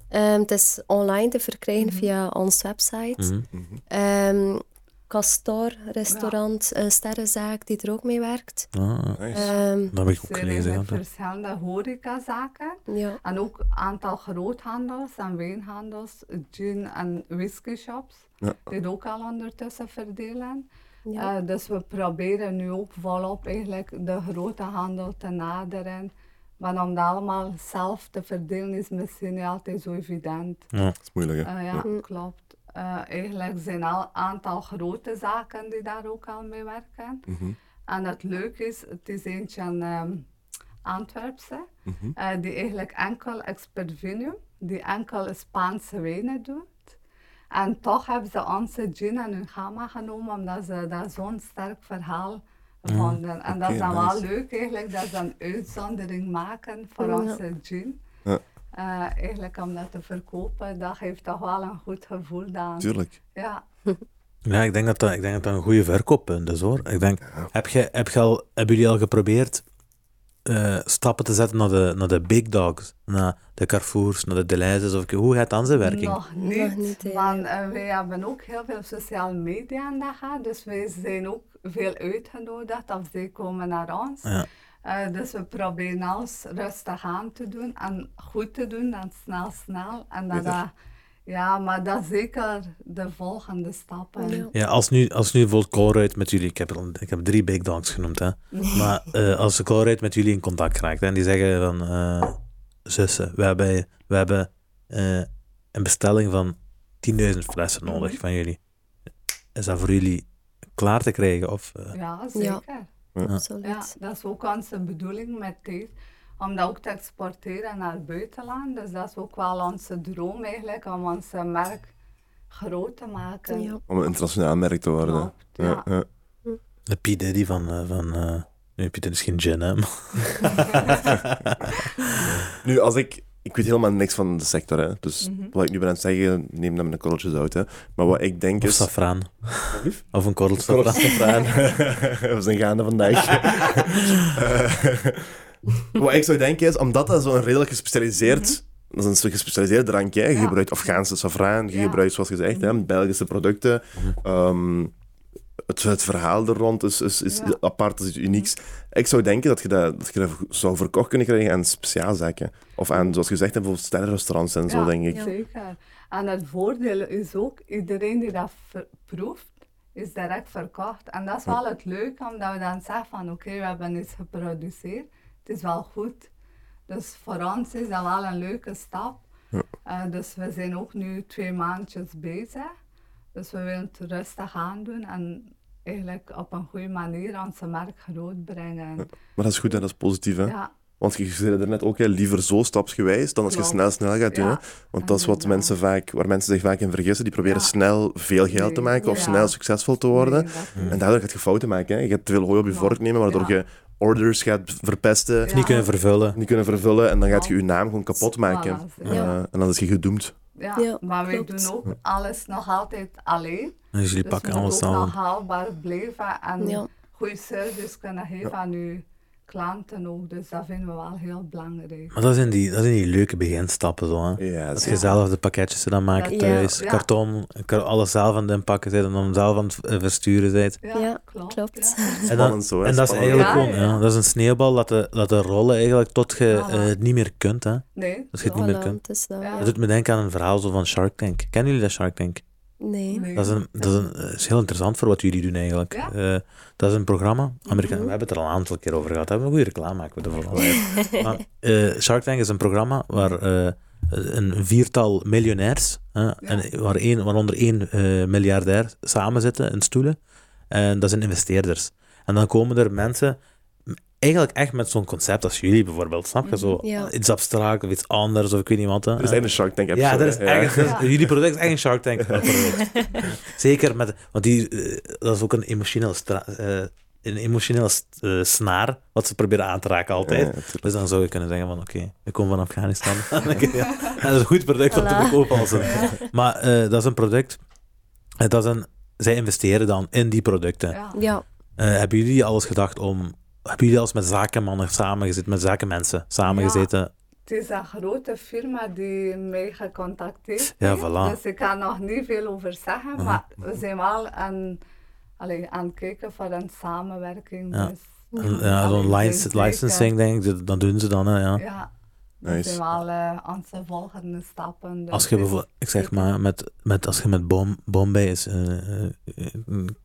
Ehm, het is online te verkrijgen via onze website. Ehm, Castor Restaurant, eh, Sterrenzaak, die er ook mee werkt.
Ah,
Ehm,
dat heb ik ook
Ze zijn
gelezen.
met
ja.
verschillende horecazaken.
ja.
En ook aantal groothandels en wijnhandels, gin- en whiskyshops,
Ja.
die het ook al ondertussen verdelen.
Ja.
Eh, dus we proberen nu ook volop eigenlijk de grote handel te naderen. Maar om dat allemaal zelf te verdelen is misschien niet altijd zo evident.
Dat is moeilijk, hè.
Ah,
Eh, ja, klopt. Eh, eigenlijk zijn al een aantal grote zaken die daar ook al mee werken. En het leuke is, het is eentje een ehm, Antwerpse, eh, die eigenlijk enkel Expervinum, die enkel Spaanse wijnen doet. En toch hebben ze onze gin en hun gamma genomen, omdat ze daar zo'n sterk verhaal vonden. En dat is
oké,
dan wel
nice.
leuk eigenlijk, dat ze een uitzondering maken voor onze gin.
Ja.
Eh, eigenlijk om dat te verkopen, dat geeft toch wel een goed gevoel dan.
Tuurlijk.
Ja,
Ja, ik denk dat dat, ik denk dat, dat een goede verkooppunt is hoor. Ik denk, heb je, heb je al, hebben jullie al geprobeerd eh, stappen te zetten naar de, naar de big dogs? Naar de Carrefours, naar de Deleuze's? Of, hoe gaat dan zijn werking?
nog niet,
niet, hè.
want eh, wij hebben ook heel veel sociale media aan de hand, dus wij zijn ook veel uitgenodigd of zij komen naar ons.
Ja.
Eh, dus we proberen alles rustig aan te doen en goed te doen, dan snel, snel. En dat, dat- ja, maar dat is zeker de volgende stappen.
Ja.
Ja, als nu, als nu bijvoorbeeld Colruyt met jullie, ik heb, er al- ik heb drie big dogs genoemd, hè. Maar eh, als de Colruyt met jullie in contact raakt hè, en die zeggen van, eh, zussen, we hebben, we hebben eh, een bestelling van 10.000 flessen nodig van jullie. Is dat voor jullie klaar te krijgen? Of, eh,
Ja, zeker. Ja,
absoluut.
dat is ook onze bedoeling met dit. Om dat ook te exporteren naar het buitenland. Dus dat is ook wel onze droom eigenlijk, om onze merk groot te maken.
Ja.
Om een internationaal merk te worden.
Klopt, ja.
ja.
De P. Diddy van... eh, van eh, nu, P. Diddy is geen gin, hè. maar-
Nu, als ik... Ik weet helemaal niks van de sector, hè. Dus wat ik nu ben aan het zeggen, neem dat met een korreltje zout, hè. Maar wat ik denk
Of
is...
safraan.
lief?
Of een korrel
Korrel
safraan.
safraan. We zijn gaande vandaag. Eh, wat ik zou denken is, omdat dat zo'n redelijk gespecialiseerd... Dat is een soort gespecialiseerd drankje. hè. Je
Mhm. Ja.
gebruikt Afghaanse safraan, je
Ja. Mhm.
gebruikt, zoals gezegd, hè, Belgische producten. Ehm, het, het verhaal er rond is, is, is
Ja. Mhm.
apart, is iets unieks. Ik zou denken dat je dat, dat je dat zou verkocht kunnen krijgen aan speciaalzaken. Of aan, zoals gezegd, hè, bijvoorbeeld sterrenrestaurants en zo,
Ja,
denk ik.
Zeker. En het voordeel is ook, iedereen die dat ver- proeft, is direct verkocht. En dat is wel het leuke, omdat we dan zeggen van oké, we hebben iets geproduceerd, het is wel goed. Dus voor ons is dat wel een leuke stap. Eh, dus we zijn ook nu twee maandjes bezig. Dus we willen het rustig aandoen en eigenlijk op een goede manier onze merk groot brengen.
Maar dat is goed, hè, dat is positief. Hè?
Ja,
Want je zei er net ook, hè, liever zo stapsgewijs dan als je
Klopt.
snel snel gaat doen. hè.
Ja,
Want dat is wat
inderdaad.
mensen vaak, waar mensen zich vaak in vergissen. Die proberen
Ja.
snel veel geld te
Nee,
maken of
ja.
snel succesvol te worden.
Nee, dat-
En daardoor gaat je fouten maken. Hè. Je gaat te veel hooi op je
Klopt.
vork nemen, waardoor
Ja.
je orders gaat verpesten,
Ja.
Niet kunnen vervullen.
niet kunnen vervullen en dan gaat je
Klopt.
je naam gewoon kapot maken.
Voilà,
ja.
Eh, en dan is je gedoemd.
Ja,
Ja,
maar wij
klopt.
doen ook alles nog altijd alleen.
En dus jullie
Dus
pakken
je moet
alles
ook
aan.
nog haalbaar blijven en
Ja.
goede service kunnen geven aan uw klanten ook. Dus dat vinden we wel heel belangrijk.
Maar dat zijn die, dat zijn die leuke beginstappen zo, hè.
Ja,
Als
dat
je
is-
zelf de pakketjes dan maken
Ja.
thuis,
Ja.
karton, kar- alles zelf aan het inpakken bent en dan zelf aan het eh, versturen bent.
Ja, klopt.
ja.
En, dan,
Spannend zo, hè.
en
Spannend.
dat is eigenlijk
Ja,
gewoon,
ja.
ja, dat is een sneeuwbal dat de, dat de rollen eigenlijk tot je
Voilà.
eh, het niet meer kunt. Hè.
Nee,
Dat je het niet meer
Voilà,
kunt.
het is dat,
Ja.
ja.
Dat doet me denken aan een verhaal zo van Shark Tank. Kennen jullie dat Shark Tank?
Nee.
nee.
Dat is, een, dat, is een, eh, is heel interessant voor wat jullie doen eigenlijk.
Ja? Mhm.
Eh, dat is een programma. Amerika We hebben het er al een aantal keer over gehad. We hebben een goede reclame maken we ervoor. al. maar, eh, Shark Tank is een programma waar eh, een viertal miljonairs, hè, en waar één, waaronder één eh, miljardair, samen zitten in stoelen. En dat zijn investeerders. En dan komen er mensen, m- eigenlijk echt met zo'n concept als jullie bijvoorbeeld, snap je?
Mhm.
Zo,
Ja.
Iets abstract of iets anders of ik weet niet wat. hè.
Er is eigenlijk een Shark Tank episode.
Ja, dat is
hè.
eigenlijk,
Ja.
dat is- jullie product is echt een Shark Tank product. Zeker, met, want die, eh, dat is ook een emotioneel, stra- eh, een emotioneel s- eh, snaar wat ze proberen aan te raken altijd.
Ja, natuurlijk.
dus dan zou je kunnen zeggen van, oké, ik kom van Afghanistan. ja, dat is een goed product om te
Voilà.
verkopen. Als een- Maar eh, dat is een product, eh, dat is een, zij investeren dan in die producten.
Ja.
Ja.
Eh, hebben jullie alles gedacht om, hebben jullie alles met zakenmannen samengezeten, met zakenmensen samengezeten?
Het is een grote firma die mij gecontacteerd
Ja,
heeft.
voilà. Mhm.
Dus ik kan nog niet veel over zeggen, maar we zijn wel aan, allee, aan het kijken voor een samenwerking.
Ja.
Dus,
Ja, zo'n
allee, we
lic-
zijn
licensing, denk ik, dat- dat doen ze dan, hè, ja.
zeker- Ja, dat
Nice.
zijn wel eh, onze volgende stappen. Dus
Als je
dit-
bijvoorbeeld, ik zeg maar, met, met, als je met Bom, Bombay is, eh, eh, eh,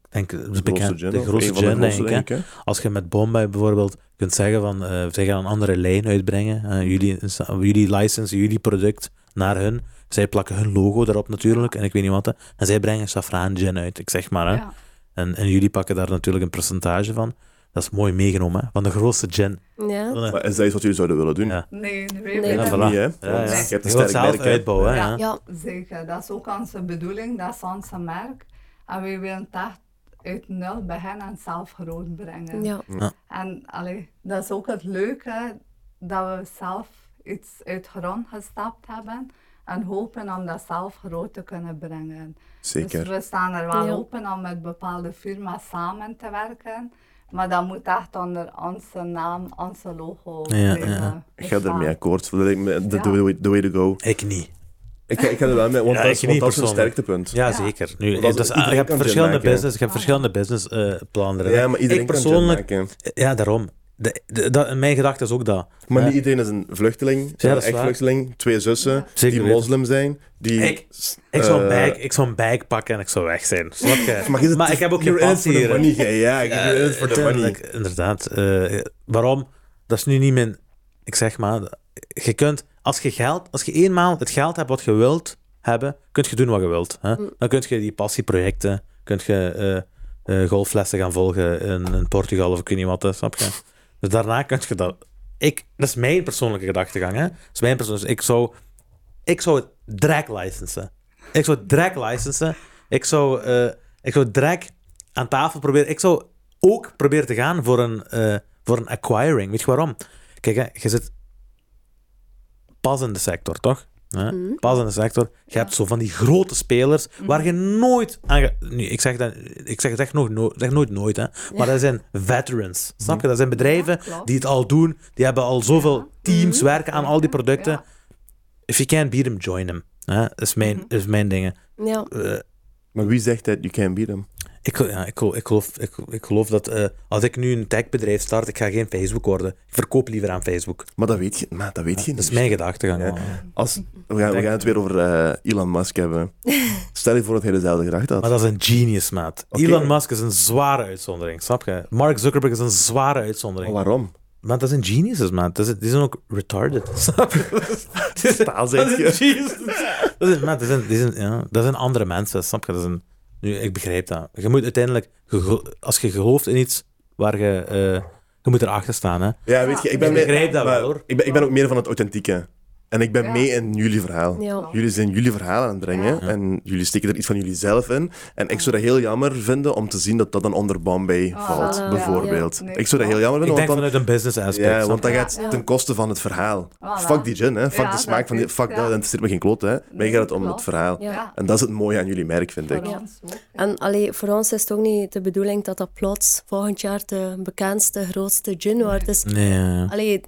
denk,
De
ik,
grootste
bekend,
gin,
de
of
grootste
een van de
gin, denk
grootste,
ik. hè.
denk ik, hè.
Als je met Bombay bijvoorbeeld kunt zeggen van, eh, zij gaan een andere lijn uitbrengen,
Mhm.
eh, jullie, insta- jullie license, jullie product naar hun, zij plakken hun logo erop natuurlijk, en ik weet niet wat, hè. en zij brengen safraan gin uit, ik zeg maar. Hè.
Ja,
En, en jullie pakken daar natuurlijk een percentage van. Dat is mooi meegenomen, hè, van de grootste gin.
Ja.
Maar is dat iets wat jullie zouden willen doen?
Ja.
nee, we
Nee,
willen
dat-
Niet,
Voilà.
hè?
Ja,
Want
ja.
Je hebt
Je
een
wilt
sterk
zelf
merk, hè.
uitbouwen, hè,
Ja.
ja.
Ja.
Zeker, dat is ook onze bedoeling, dat is onze merk. En we willen het echt uit nul beginnen en zelf groot brengen.
Ja.
En allee, dat is ook het leuke, dat we zelf iets uit grond gestapt hebben en hopen om dat zelf groot te kunnen brengen. Dus
Zeker.
we staan er wel
Ja.
open om met bepaalde firma's samen te werken, maar dat moet echt onder onze naam, onze logo
Ja,
blijven
ja.
Ik ga
bestaan.
ermee akkoord. Dat lijkt me de,
Ja.
de way, the way to go.
Ik niet.
Ik, ga- ik ga er wel mee, want
Ja,
dat is,
ik
want
niet
dat is een
persoonlijk.
sterktepunt.
Ja, zeker. Nu,
Want als
dat is,
iedereen
je hebt
kan gin
verschillende
maken, hè.
business, je hebt verschillende businessplannen.
Ja, maar iedereen
ik
kan gin
persoonlijk,
maken.
Ja, daarom. De, de- dat, mijn gedachte is ook dat. Eh,
Maar
Ja.
niet iedereen is een vluchteling,
dat is
een echt
waar.
vluchteling. Twee zussen
Zeker
die
weten.
moslim zijn. Die,
Ik- Ik zou, een
eh,
bag, ik zou een bag pakken en ik zou weg zijn. Snap je?
Maar, is het-
ik heb ook geen
you're in it for
passie
the
hier. hè.
money, gij. Ja, ik
Eh,
ben het voor de
tuurlijk,
money.
Inderdaad. Eh, waarom? Dat is nu niet mijn... Ik zeg maar, je kunt... Als je geld... Als je eenmaal het geld hebt wat je wilt hebben, kun je doen wat je wilt. Hè? Dan kun je die passieprojecten... Kun je eh, eh, golflessen gaan volgen in, in Portugal of ik weet niet wat, hè, snap je? Dus daarna kun je dat... Ik, dat is mijn persoonlijke gedachtegang, hè. Dat is mijn persoonlijke... Ik zou... Ik zou het drag licensen. Ik zou het drag licensen. Ik zou, eh, ik zou drag aan tafel proberen. Ik zou ook proberen te gaan voor een, eh, voor een acquiring. Weet je waarom? Kijk, hè, je zit pas in de sector, toch? Hè? Pas in de sector. Je hebt zo van die grote spelers waar je nooit aan... ge- Nu, ik, zeg dat, ik zeg het echt nog no- zeg nooit nooit, hè. Maar dat zijn veterans. Snap je? Dat zijn bedrijven
klopt.
die het al doen. Die hebben al zoveel teams werken aan al die producten.
Ja.
If you can't beat him, join him. Hè? Is, mijn,
Mhm.
is mijn dingen.
Ja.
Eh,
Maar wie zegt dat you can beat them?
ik, gel- ja, ik, gel- ik, geloof, ik, ik geloof dat eh, als ik nu een techbedrijf start, ik ga geen Facebook worden. Ik verkoop liever aan Facebook.
Maar dat weet je, maar dat weet je
Dat is
niet.
mijn gedachtegang.
Ja.
man.
Als, we, gaan, we gaan het weer over eh, Elon Musk hebben. Stel je voor dat hij dezelfde gedachte had.
Maar dat is een genius, maat.
Oké.
Elon Musk is een zware uitzondering, snap je? Mark Zuckerberg is een zware uitzondering.
Maar waarom?
Maar dat zijn geniuses, maat. Dat is- Die zijn ook retarded, snap je? Dat is-
Taal zeg
dat
je.
is geniuses. Dat zijn- maat, dat zijn- die zijn- ja, dat zijn andere mensen, snap je? Dat zijn, nu, ik begrijp dat. Je moet uiteindelijk, je gel- als je gelooft in iets waar je, eh, Je moet erachter staan, hè.
Ja, weet je, ik ben,
Ik
meer-
begrijp dat wel,
maar
hoor.
Ik ben, ik ben ook meer van het authentieke. En ik ben
Ja.
mee in jullie verhaal.
Ja.
Jullie zijn jullie verhaal aan het brengen
Ja.
en jullie steken er iets van jullie zelf in. En ik zou dat heel jammer vinden om te zien dat dat dan onder Bombay
Ah,
valt,
ja.
bijvoorbeeld.
Ja, nee,
ik zou dat
klopt.
heel jammer
Ik
vinden,
denk
want dan,
vanuit een business aspect.
ja,
snap
want
je?
dan gaat
Ja, ja.
ten koste van het verhaal.
Voilà.
Fuck die gin, hè. fuck
Ja,
de
dat
smak van die...
is-
Fuck
ja.
dat, dat interesseert me geen kloot, hè. Mij
Nee,
gaat het om
klopt.
het verhaal.
Ja.
Ja,
En dat is het mooie aan jullie merk, vind ik.
voor ons ook.
En allee, voor ons is het ook niet de bedoeling dat dat plots volgend jaar de bekendste, grootste gin wordt. Dus,
Nee, ja, ja.
allee,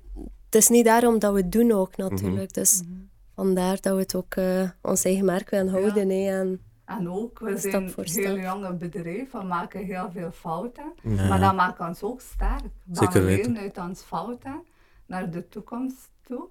het is niet daarom dat we het doen ook
Mhm.
natuurlijk. Dus vandaar dat we het ook eh, ons eigen merk willen houden. hè. En,
En ook, we
Stap
zijn
voor
heel
stap.
jonge bedrijven, we maken heel veel fouten. Maar dat maakt ons ook sterk. Dan
Zeker
we
weten.
leren uit onze fouten naar de toekomst toe.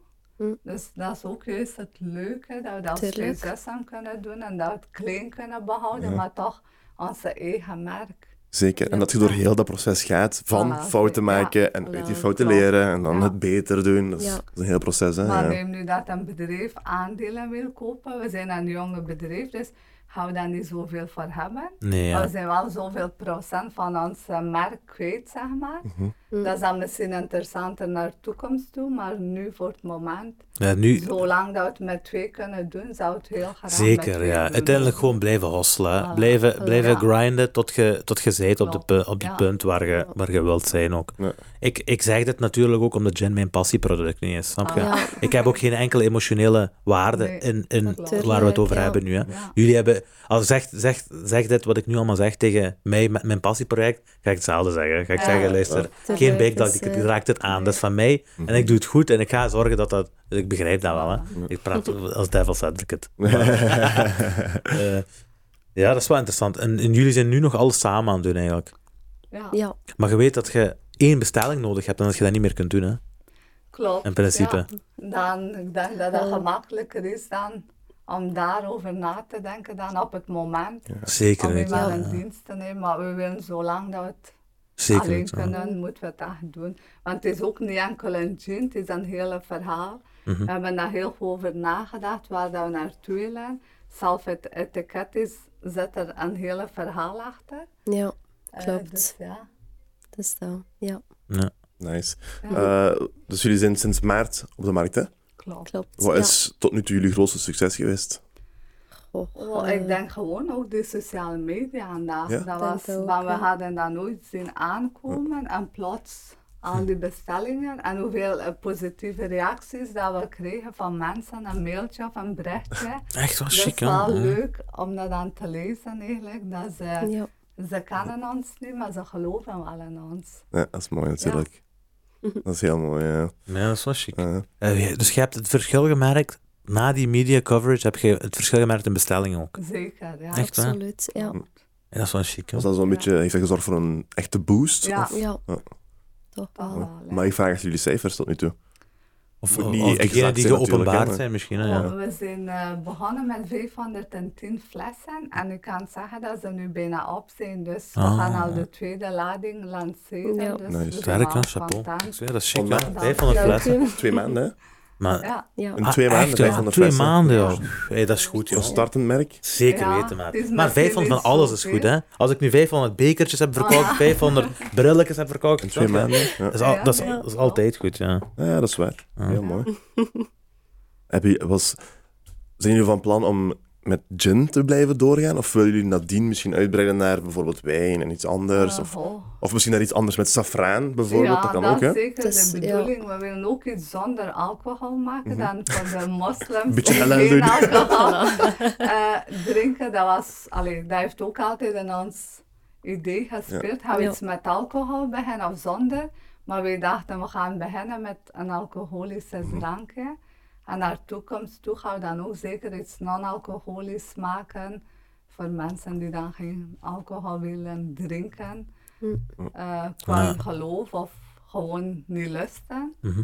Dus dat is ook juist het leuke, dat we dat
Hm. Tuurlijk.
succes aan kunnen doen en dat we het klein kunnen behouden, maar toch onze eigen merk.
Zeker. En dat je door heel dat proces gaat van
Voilà,
fouten
ja.
maken en uit die
Voilà,
fouten
klopt.
leren en dan
Ja.
het beter doen. Dat is,
Ja.
dat is een heel proces, hè.
Maar
ja.
neem nu dat een bedrijf aandelen wil kopen, we zijn een jonge bedrijf, dus gaan we daar niet zoveel voor hebben.
Nee,
Maar
ja.
We zijn wel zoveel procent van ons eh, merk kwijt, zeg maar.
Mhm.
Dat is dan misschien interessanter naar de toekomst toe, maar nu voor het moment,
Ja, nu,
zolang dat we het met twee kunnen doen, zou het heel graag met
zeker,
twee
ja.
doen.
Uiteindelijk gewoon blijven hosselen. hè. blijven blijven
ja.
grinden tot je, tot je zijt op, de, pu- op die
Ja.
punt waar je, waar je wilt zijn ook.
Ja.
Ik, ik zeg dit natuurlijk ook omdat Jen mijn passieproduct niet is, snap je?
Ah, ja.
Ik heb ook geen enkele emotionele waarde
Nee,
in, in
klopt.
waar we het over
Ja.
hebben nu. Hè.
Ja.
Jullie hebben, als zeg, zeg, zeg dit wat ik nu allemaal zeg tegen mij met mijn passieproject, ga ik hetzelfde zeggen. Ga ik
Ja.
zeggen, luister,
Ja.
geen
Tuurlijk,
backdag,
dus,
ik
eh,
raak dit aan, dat is van mij en ik doe het goed en ik ga zorgen dat dat, ik begrijp dat wel. Hè. Ik praat als devil's advocate. Eh, ja, dat is wel interessant. En, en jullie zijn nu nog alles samen aan het doen eigenlijk.
Ja,
ja,
Maar je weet dat je één bestelling nodig hebt en dat je dat niet meer kunt doen. Hè?
klopt.
In principe.
ja. Dan, ik denk dat dat gemakkelijker is dan om daarover na te denken dan op het moment.
Zeker
Om nu
niet.
wel
Ja.
een dienst te nemen, maar we willen zolang dat we het
Zeker
alleen
niet. ja.
kunnen, moeten we het echt doen. Want het is ook niet enkel een gin, het is een hele verhaal.
Mhm.
We hebben daar heel goed over nagedacht, waar dat we naartoe willen. Zelf het etiket is, zit er een hele verhaal achter.
ja,
Eh,
Klopt.
dus ja.
dus dat. Ja,
Ja.
Nice. Eh, dus jullie zijn sinds maart op de markt, hè?
Klopt.
klopt.
Wat
ja.
is tot nu toe jullie grootste succes geweest?
Goh,
Oh, ik denk gewoon ook de sociale media vandaag.
Ja.
Dat
Denk
was,
ook,
want we
ja.
hadden dat nooit zien aankomen. En plots al die bestellingen en hoeveel eh, positieve reacties dat we kregen van mensen. Een mailtje of een berichtje.
Echt wel
Dat is
chic, hè?
wel
Ja.
leuk om dat aan te lezen eigenlijk. Dat ze,
Ja.
ze kennen ons niet, maar ze geloven wel in ons.
Ja, dat is mooi, natuurlijk. Dat is heel mooi, ja.
Ja, dat is wel chic.
Eh,
Eh, ja, dus je hebt het verschil gemerkt. Na die media coverage heb je het verschil gemerkt in bestellingen ook.
Zeker, ja.
Echt Mm. waar?
absoluut. Ja,
Ja, dat is wel chic. hè.
was dat zo'n beetje, heeft dat gezorgd voor een echte boost?
Ja,
Of-
ja.
Ja.
toch
dat
wel.
wel, hè.
Maar ik vraag echt jullie cijfers tot nu toe.
Of,
Moet
of,
niet
of
exact
degenen die
zijn natuurlijk, hè,
geopenbaard
maar-
zijn misschien. hè, Ja.
We zijn eh, begonnen met 510 flessen en ik kan zeggen dat ze nu bijna op zijn. Dus we
Ah.
gaan al de tweede lading lanceren.
Ja.
Dus
Nice.
we zijn
Sterk, hè?
wel
Chapeau.
content.
Ja, dat is chic,
Vandaar.
hè? 500
Dank
flessen.
u.
Twee maanden, hè?
Maar
Ja,
Ja.
In twee
Ah,
maanden,
echt, ja,
500
Twee
flessen.
maanden, joh. Hey, dat is goed,
Voor een
joh.
startend merk.
Zeker
Ja,
weten,
het is
maar.
maar
Maar 500 van
veel is
alles is
zo
goed,
veel.
hè? Als ik nu 500 bekertjes heb verkocht, 500 brilletjes heb verkocht.
In twee
snap je?
maanden. Ja.
Dat is, al-
Ja,
dat, is,
ja.
dat is altijd goed, ja.
Ja, dat is waar.
Ah.
Heel mooi. Heb je, was, zijn jullie van plan om met gin te blijven doorgaan? Of willen jullie nadien misschien uitbreiden naar bijvoorbeeld wijn en iets anders? Of,
Oh.
of misschien naar iets anders met saffraan bijvoorbeeld? dat kan ook, hè?
is zeker
Dus,
de
ja.
bedoeling. We willen ook iets zonder alcohol
Mhm.
maken dan voor de moslims.
Beetje
die
halal
geen
doen.
alcohol eh, drinken, dat, was, allee, dat heeft ook altijd in ons idee gespeeld. Gaan we
Ja.
iets met alcohol beginnen of zonder? Maar wij dachten, we gaan beginnen met een alcoholische drankje. En naar de toekomst toe gaan we dan ook zeker iets non-alcoholisch maken voor mensen die dan geen alcohol willen drinken
Mhm.
eh, qua
Ja.
geloof of gewoon niet lusten. Eh,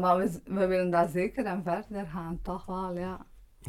maar we, we willen daar zeker en verder gaan, toch wel, ja.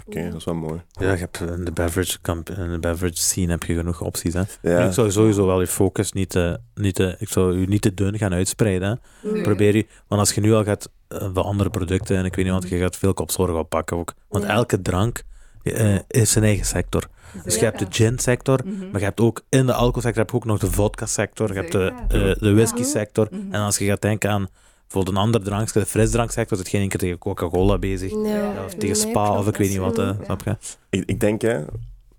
Oké, dat is wel mooi.
Ja, je hebt in de beverage, camp, in de beverage scene heb je genoeg opties. Hè?
Ja.
Ik zou sowieso wel je focus niet te, niet te, ik zou je niet te dun gaan uitspreiden. hè.
Mm.
Nee.
Probeer je, want als je nu al gaat eh, van andere producten, en ik weet niet, want je gaat veel kopzorg oppakken ook. Want
Ja.
elke drank eh, is zijn eigen sector. Dus je hebt de gin-sector,
Mhm.
maar je hebt ook in de alcoholsector heb je ook nog de vodka-sector, je hebt de,
Zeker.
eh, de whisky-sector.
Mhm.
En als je gaat denken aan bijvoorbeeld een ander drankje, de frisdranksector, zit geen enkele tegen Coca-Cola bezig.
Ja,
Of
of
tegen
nee,
Spa, of
klopt,
ik weet niet wat, hè,
absoluut.
snap je?
Ik, ik denk, hè,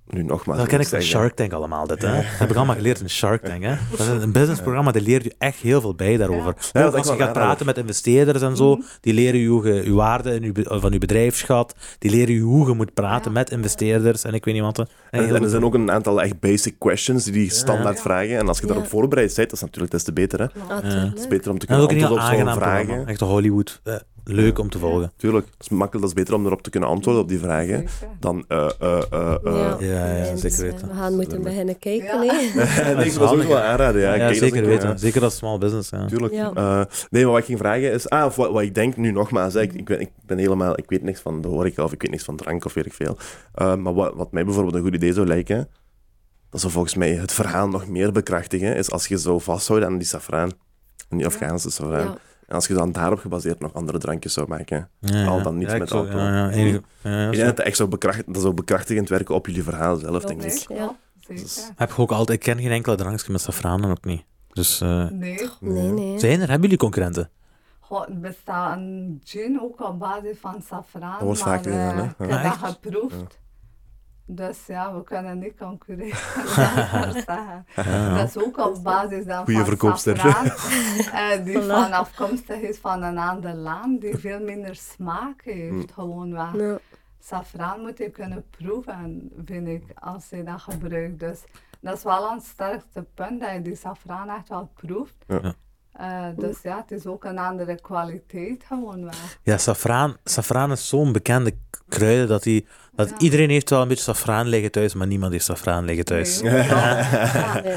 nu nogmaals.
Dat ken ik
zeg,
van
hè.
Shark Tank allemaal, dit. Hè? Dat heb ik allemaal geleerd in Shark Tank. Hè? Dat is een businessprogramma, dat leert je echt heel veel bij daarover.
Ja, dat is
Ook als je
wel Mhm.
gaat
waar,
praten met investeerders en zo, die leren je hoe je je waarde in je, be- van je bedrijfsschat, die leren je hoe je moet praten met investeerders en ik weet niet wat. hè. En
En,
heel
en er zijn ook een aantal echt basic questions die die standaard
Ja.
vragen. En als je
Ja.
daarop voorbereid bent, dat is natuurlijk des te beter. Hè. Het
Natuurlijk.
is beter om te
en dat
kunnen
is ook een heel
antwoorden op zo'n
aangenaam
vragen.
programma. Echt een Hollywood. eh, Leuk om te volgen.
Tuurlijk, dat is makkelijk, dat is beter om erop te kunnen antwoorden op die vragen. Dan, eh, eh, eh, eh.
Ja,
ja, ja,
dus,
zeker
eh,
weten.
We gaan moeten
Slimmer.
beginnen kijken.
Ja.
hè.
ik denk dat
is
we
handig,
sowieso wel
hè.
aanraden. Ja,
Ja,
Ik denk dat
zeker
ik-
weten.
ja,
Zeker als small business. Ja.
Tuurlijk.
Ja.
Eh, nee, maar wat ik ging vragen is... Ah, of wat, wat ik denk nu nogmaals. Hè, ik, ik, ben, ik ben helemaal... Ik weet niks van de horeca of ik weet niks van drank of weet ik veel. Eh, maar wat, wat mij bijvoorbeeld een goed idee zou lijken... Dat zou volgens mij het verhaal nog meer bekrachtigen. Is als je zo vasthoudt aan die safraan. Aan die Afghaanse safraan.
Ja.
En als je dan daarop gebaseerd nog andere drankjes zou maken.
Ja, ja.
Al dan niet
Ja, ik
met
zou-
alcohol.
ja, ja, enig- ja, ja,
Ik
zo.
denk dat dat echt zou, bekracht, dat zou bekrachtigend werken op jullie verhaal zelf,
Ja,
denk ik.
zeker.
Ja,
Dus-
zeker.
Heb je ook altijd, ik ken geen enkele drankje met safraan en ook niet. Dus eh,
Nee,
Nee, nee.
zijn er, hebben jullie concurrenten?
God, er bestaat een gin ook op basis van safraan.
Dat wordt
maar,
vaak
eh,
gedaan, hè? Ja.
Ik heb
Ah,
dat
echt?
geproefd. Dus ja, we kunnen niet concurreren. laat ik maar zeggen. Dat is ook op basis dan
Goeie
van
verkoopster.
safraan, eh, die
Voilà.
van afkomstig is van een ander land, die veel minder smaak
Mm.
heeft, gewoon wel.
Nou,
Safraan moet je kunnen proeven, vind ik, als je dat gebruikt. Dus dat is wel een sterkste punt, dat je die safraan echt wel proeft.
Ja.
Eh, dus ja, het is ook een andere kwaliteit gewoon wel.
Ja, safraan, safraan is zo'n bekende k- kruiden dat, die, dat iedereen heeft wel een beetje safraan liggen thuis, maar niemand heeft safraan liggen thuis.
Nee.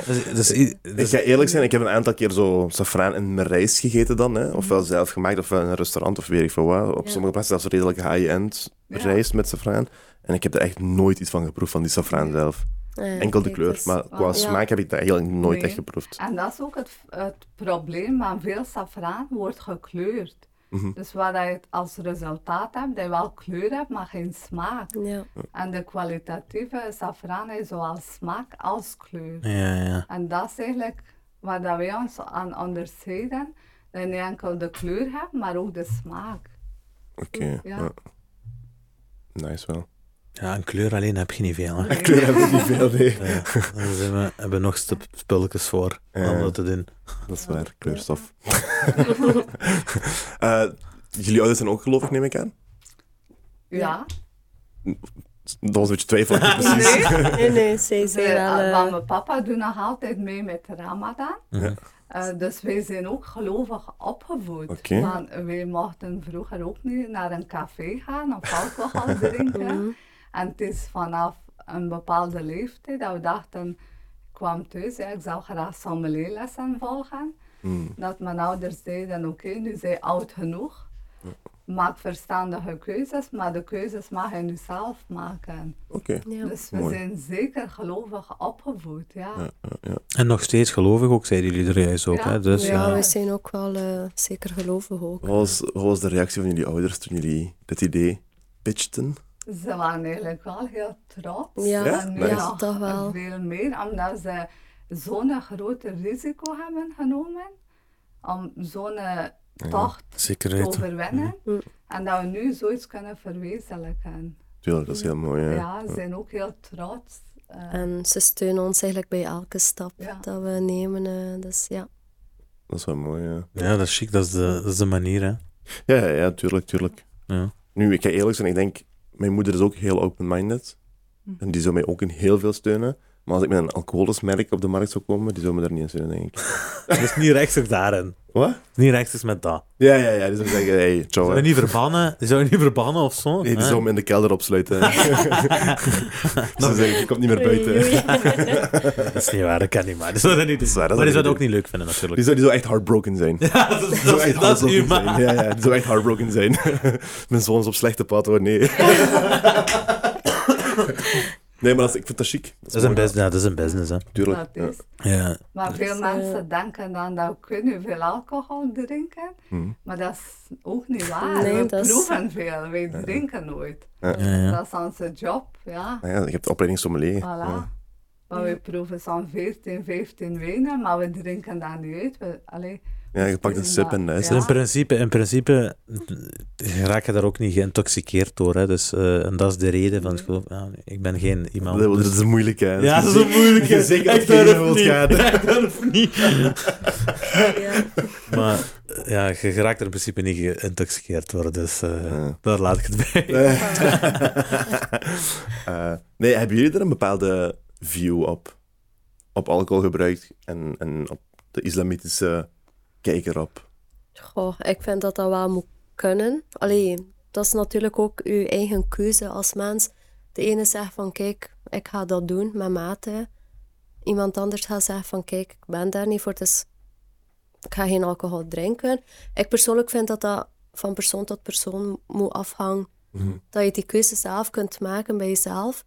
Dus, dus i-
Ik
dus-
ga eerlijk zijn, ik heb een aantal keer zo safraan in mijn rijst gegeten dan. Hè? Ofwel zelf gemaakt, ofwel in een restaurant of weet ik veel wat. Op sommige plaatsen zelfs redelijk high-end
Ja.
rijst met safraan. En ik heb er echt nooit iets van geproefd, van die safraan zelf.
eh,
Enkel de
kijk,
kleur,
dus-
maar qua
Ja.
smaak heb ik dat eigenlijk nooit
Nee.
echt geproefd.
En dat is ook het, het probleem, want veel safraan wordt gekleurd. Dus wat je het als resultaat hebt, dat je wel kleur hebt, maar geen smaak.
Ja.
En de kwalitatieve safraan heeft zowel smaak als kleur.
ja, ja.
En dat is eigenlijk waar dat wij ons aan onderscheiden. Dat je niet enkel de kleur hebt, maar ook de smaak.
Oké, ja.
Ja.
Nice wel.
ja, een kleur alleen heb je niet veel. Hè.
Kleur heb ik niet veel, nee.
Ja, daar zijn we, hebben we nog sp- spulletjes voor om
Ja.
dat te doen.
Dat is waar, kleurstof. Eh, jullie ouders zijn ook gelovig, neem ik aan?
Ja,
Dat was een beetje twijfelachtig precies.
Nee, nee, zij
Ze-
zijn wel...
eh, want
eh,
mijn papa doet nog altijd mee met Ramadan.
Ja.
Eh, dus wij zijn ook gelovig opgevoed.
Oké.
Want wij mochten vroeger ook niet naar een café gaan of alcohol drinken. en het is vanaf een bepaalde leeftijd dat we dachten, ik kwam thuis, ja, ik zou graag sommelierlessen volgen.
Mm.
Dat mijn ouders zeiden, oké, nu zijn je oud genoeg. Maak verstandige keuzes, maar de keuzes mag je nu zelf maken.
Oké.
eh, ja.
Dus we
Mooi.
zijn zeker gelovig opgevoed, ja.
En nog steeds gelovig ook, zeiden jullie er juist ook.
Ja.
Hè? Dus,
Ja,
eh,
we zijn ook wel eh, zeker gelovig ook.
Wat was, wat was de reactie van jullie ouders toen jullie dit idee pitchten?
Ze waren eigenlijk wel heel trots.
Ja,
Ja?
En
Nice.
ja, toch wel.
Veel meer, omdat ze zo'n groot risico hebben genomen om zo'n tocht
Zeker
te
weten.
overwinnen.
Mm.
En dat we nu zoiets kunnen verwezenlijken.
Tuurlijk, dat is heel mooi. hè.
Ja, ze zijn ook heel trots. eh,
En ze steunen ons eigenlijk bij elke stap
Ja.
dat we nemen. eh, dus ja.
Dat is wel mooi, ja.
Ja, dat is chic, dat is de, dat is de manier. Hè?
Ja, ja, ja, tuurlijk, tuurlijk.
Ja.
Nu, ik ga eerlijk zijn, ik denk, mijn moeder is ook heel open-minded.
Hm.
En die zou mij ook in heel veel steunen. Maar als ik met een alcoholisch merk op de markt zou komen, die zou me daar niet in steunen, denk ik.
Dat is niet rechtstreeks daarin. Het
Wat?
is niet rechtstreeks met dat.
Ja, ja, ja. Die zou zeggen, hey, ciao.
Zou
hè.
je niet Ah. verbannen? Zou je niet verbannen of zo?
Nee, die
Hè?
zou me in de kelder opsluiten. Ze zeggen, je komt niet meer
Oei,
buiten.
oei.
Dat is niet waar, dat kan niet, maar die zou dat niet doen.
waar, dat
maar die
zou ik
zou het ook
niet
niet leuk vinden, natuurlijk.
Die zou, die zou echt heartbroken zijn.
Ja, dat is,
Die zou
dat is,
echt
dat is uw
heartbroken
ma-
zijn. Ja, ja, die zou echt heartbroken zijn. Mijn zoon is op slechte pad, hoor, nee. Nee, maar dat is, ik vind dat chic.
Dat is een business, ja, dat is een business, hè.
Tuurlijk.
Dat
Ja.
is.
Ja.
Maar veel
Dus, eh,
mensen denken dan dat we kunnen veel alcohol drinken, maar dat is ook niet waar.
Nee,
we
dat is-
proeven veel, we drinken nooit.
Ja, ja.
Dat is onze job, ja.
Nou ja, je hebt de opleiding sommelier.
Voilà.
Ja.
Maar we proeven zo'n 14, 15 wijnen, maar we drinken dat niet uit. We, allee,
Ja, je pakt een sip en dat
Dus
is
Ja.
het.
In principe, in principe raak je daar ook niet geïntoxiceerd door. Hè. Dus, eh, en dat is de reden van het geloof. Ja, ik ben geen iemand.
Dat
dus-
is moeilijk, hè.
ja, dat is een moeilijke.
Zeker dat
ik
je
durf
hierin wilt
niet.
gaan.
Ik durf niet.
Ja.
Maar eh, ja, je je raakt er in principe niet geïntoxiceerd door. Dus eh,
Ja.
daar laat ik het bij.
Eh, nee, hebben jullie er een bepaalde view op? Op alcoholgebruik en, en op de islamitische kijker op?
Goh, ik vind dat dat wel moet kunnen. Allee, dat is natuurlijk ook uw eigen keuze als mens. De ene zegt van kijk, ik ga dat doen met mate. Iemand anders gaat zeggen van kijk, ik ben daar niet voor, dus ik ga geen alcohol drinken. Ik persoonlijk vind dat dat van persoon tot persoon moet afhangen. Dat je die keuze zelf kunt maken bij jezelf.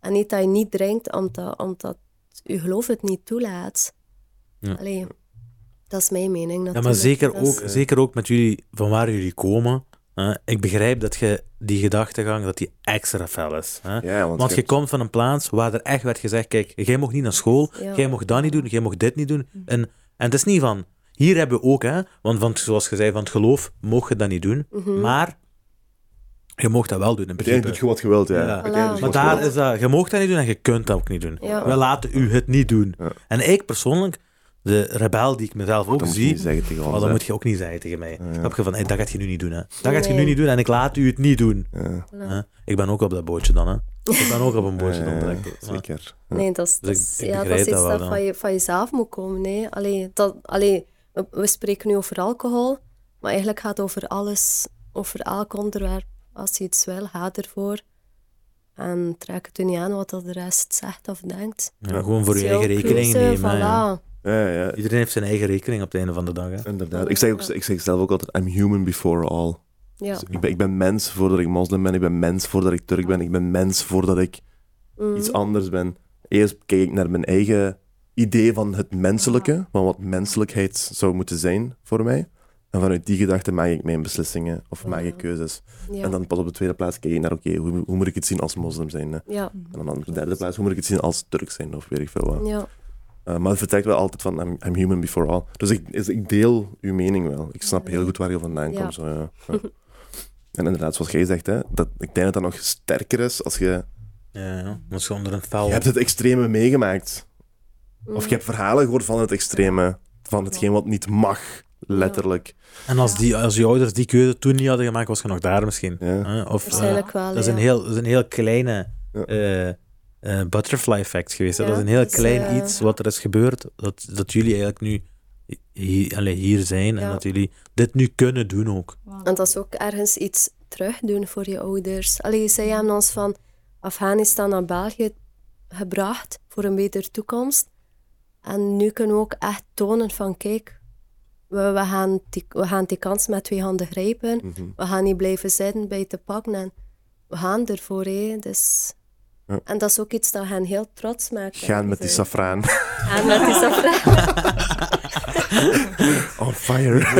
En niet dat je niet drinkt omdat, omdat je geloof het niet toelaat.
Ja.
Allee, dat is mijn mening
Ja,
natuurlijk.
maar zeker
Dat is- eh,
ook, zeker ook met jullie, van waar jullie komen. hè. ik begrijp dat je die gedachtegang, dat die extra fel is. Hè.
Ja, want,
Want
je
je komt van een plaats waar er echt werd gezegd: kijk, jij mocht niet naar school,
Ja. Mhm.
jij mocht dat niet doen, jij mocht dit niet doen. En, en het is niet van, hier hebben we ook, hè, want van, het- zoals je zei, van het geloof mocht je dat niet doen,
Mhm.
maar je mocht dat wel doen in
Uiteindelijk
principe.
doet je wat geweld, ja.
Ja.
Uiteindelijk doet je
Maar
wat je
daar
wilt.
is dat, je mocht dat niet doen en je kunt dat ook niet doen.
Ja.
We laten u het niet doen.
Ja.
En ik persoonlijk, de rebel die ik mezelf ook
Dat moet je
zie,
niet zeggen tegen
maar
ons.
dat
hè.
moet je ook niet zeggen tegen mij. Snap je van, hey, dat gaat je nu niet doen. Hè. Dat gaat je nu
Nee. Nou.
niet doen en ik laat u het niet doen.
Ja,
Hè. Ik ben ook op dat bootje dan. Hè. Ik ben ook op een bootje dan.
ja,
direct. Ja.
zeker.
Nee, dat is,
Dus ik-
dat is-
ik
ja, dat
begrijp
is
dat
iets
wel,
dat
ja.
van, je, van jezelf moet komen. Nee. Allee, dat, allee, we, we spreken nu over alcohol, maar eigenlijk gaat het over alles, over elk onderwerp. Als je iets wil, ga ervoor. En trek het u niet aan wat dat de rest zegt of denkt.
Ja, gewoon voor je
Zelf
eigen rekening
kiezen,
nemen. hè, ja.
voilà.
Ja, ja,
Iedereen heeft zijn eigen rekening op het einde van de dag. Hè.
inderdaad. Ik zeg, ook, ik zeg zelf ook altijd, I'm human before all.
Ja.
Dus ik, ben, ik ben mens voordat ik moslim ben, ik ben mens voordat ik Turk ben, ik ben mens voordat ik
Mm.
iets anders ben. Eerst kijk ik naar mijn eigen idee van het menselijke, van wat menselijkheid zou moeten zijn voor mij. En vanuit die gedachte maak ik mijn beslissingen of maak ik keuzes.
Ja.
En dan pas op de tweede plaats kijk ik naar, oké, hoe, hoe moet ik het zien als moslim zijn? hè?
ja.
En dan op de derde plaats, hoe moet ik het zien als Turk zijn of weet ik veel wat.
ja.
Uh, maar het vertrekt wel altijd van I'm, I'm human before all. Dus ik, is- ik deel uw mening wel. Ik snap heel goed waar je vandaan
Ja.
komt. Zo, ja. Ja. En inderdaad, zoals jij zegt, hè, dat, ik denk dat dat nog sterker is als je...
Ja, ja. Dat is gewoon onder een fel.
Je hebt het extreme meegemaakt. Of je hebt verhalen gehoord van het extreme. Van hetgeen wat niet mag, letterlijk.
En als, die, als je ouders die keuze toen niet hadden gemaakt, was je nog daar misschien.
Ja.
hè. Of, eh,
Waarschijnlijk wel,
dat, is
ja.
een heel, dat is een heel kleine
Ja.
eh, eh, butterfly effect geweest. hè.
Ja,
dat is een heel
dus,
klein
eh,
iets wat er is gebeurd, dat, dat jullie eigenlijk nu hier, allee, hier zijn en
Ja.
dat jullie dit nu kunnen doen ook.
En dat is ook ergens iets terugdoen voor je ouders. Allee, zij hebben ons van Afghanistan naar België gebracht voor een betere toekomst. En nu kunnen we ook echt tonen van, kijk, we, we, gaan, die, we gaan die kans met twee handen grijpen.
Mhm.
We gaan niet blijven zitten bij te pakken. En we gaan ervoor, hè. Dus...
Ja.
En dat is ook iets dat hen heel trots maakt.
Gaan met die safraan.
Gaan met die safraan.
On fire.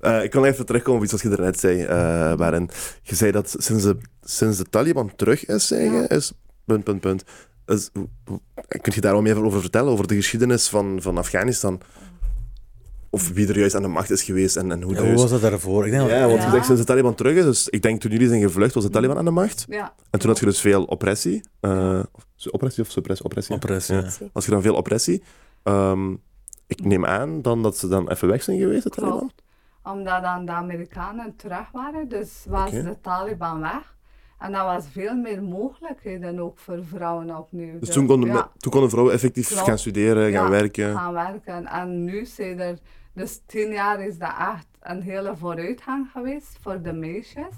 Eh, ik wil even terugkomen op iets wat je daarnet zei, eh Baren. Je zei dat sinds de, sinds de Taliban terug is, zei je, is... Punt, punt, punt. Is, hoe- hoe- kun je daar wat meer over vertellen, over de geschiedenis van, van Afghanistan? Of wie er juist aan de macht is geweest en, en hoe
Ja,
dat
hoe was
juist...
dat daarvoor? Ik denk dat-
Ja, want je
Ja.
zegt sinds de Taliban terug is, dus ik denk toen jullie zijn gevlucht, was de Taliban aan de macht.
Ja,
En toen had je dus veel oppressie. eh, of- oppressie of suppressie? Oppressie.
Oppressie,
Ja.
ja.
Had je dan veel oppressie. Ehm, ik neem aan dan dat ze dan even weg zijn geweest, de Taliban.
klopt. Omdat dan de Amerikanen terug waren, dus was
Oké.
de Taliban weg. En dat was veel meer mogelijkheden ook voor vrouwen opnieuw.
Dus toen konden,
ja,
toen konden vrouwen effectief
Klopt.
gaan studeren, gaan
ja, Ah.
werken.
gaan werken. En nu zijn er, dus tien jaar is dat echt een hele vooruitgang geweest voor de meisjes.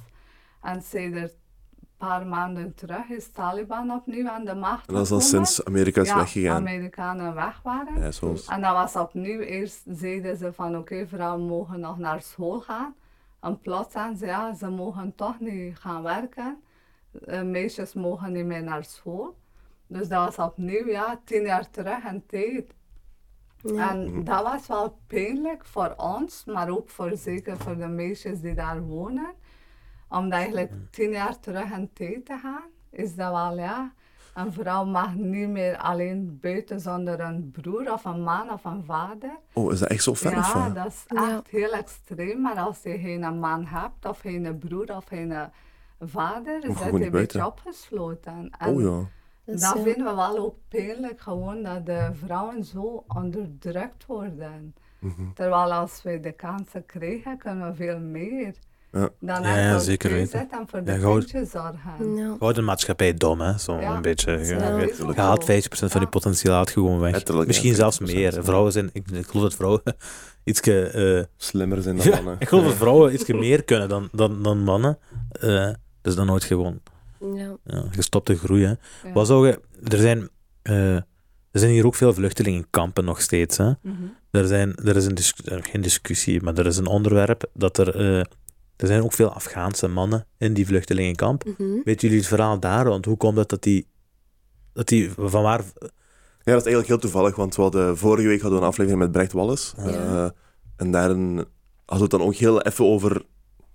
En zijn er een paar maanden terug is Taliban opnieuw aan de macht
En dat is al
gekomen.
sinds Amerika is
Ah. ja,
weggegaan.
Amerikanen weg waren.
Ja, zoals.
En dat was opnieuw. Eerst zeiden ze van oké, vrouwen mogen nog naar school gaan. En plots zeiden ze ja, ze mogen toch niet gaan werken. eh, meisjes mogen niet meer naar school. Dus dat was opnieuw, ja, tien jaar terug en tijd. En dat was wel pijnlijk voor ons, maar ook voor, zeker voor de meisjes die daar wonen. Om eigenlijk tien jaar terug in tijd te gaan, is dat wel, ja. Een vrouw mag niet meer alleen buiten zonder een broer of een man of een vader.
Oh, is dat echt zo ver? of
Ja,
wat?
dat is
Ja.
echt heel extreem. Maar als je geen man hebt, of geen broer, of geen vader, is
gewoon
dat
niet
een beetje
buiten.
opgesloten. En
Oh ja.
Dus,
dat
ja.
eh,
vinden we wel ook pijnlijk, gewoon dat de vrouwen zo onderdrukt worden.
Mhm.
Terwijl als we de kansen krijgen, kunnen we veel meer.
Ja.
Dan
Ja,
echt voor
zeker
thuis
weten.
zitten en voor de
Ja, gewoon-
kindjes zorgen.
Ja.
Houdt de maatschappij dom, hè? Zo
Ja,
een beetje. Je,
wel
je-
zo.
je haalt 50% van je potentieel haalt je gewoon weg.
Letterlijk,
Misschien
ja,
zelfs
50%,
meer. Vrouwen zijn, ik, ik geloof dat vrouwen iets. eh
Slimmer zijn dan
ja,
mannen.
ik geloof dat vrouwen iets meer kunnen dan, dan, dan mannen. Eh, dus dan nooit gewoon
Ja.
ja, gestopt te groeien.
Ja.
Wat zou je, er, zijn, eh, er zijn hier ook veel vluchtelingenkampen nog steeds. Hè?
Mhm.
Er, zijn, er is een dis- eh, geen discussie, maar er is een onderwerp dat er. eh, er zijn ook veel Afghaanse mannen in die vluchtelingenkamp.
Mhm.
Weet jullie het verhaal daar? Want hoe komt het dat die. Dat die van waar.
Ja, dat is eigenlijk heel toevallig, want we hadden, vorige week hadden we een aflevering met Brecht Wallis.
Ja.
Eh, en daarin hadden we het dan ook heel even over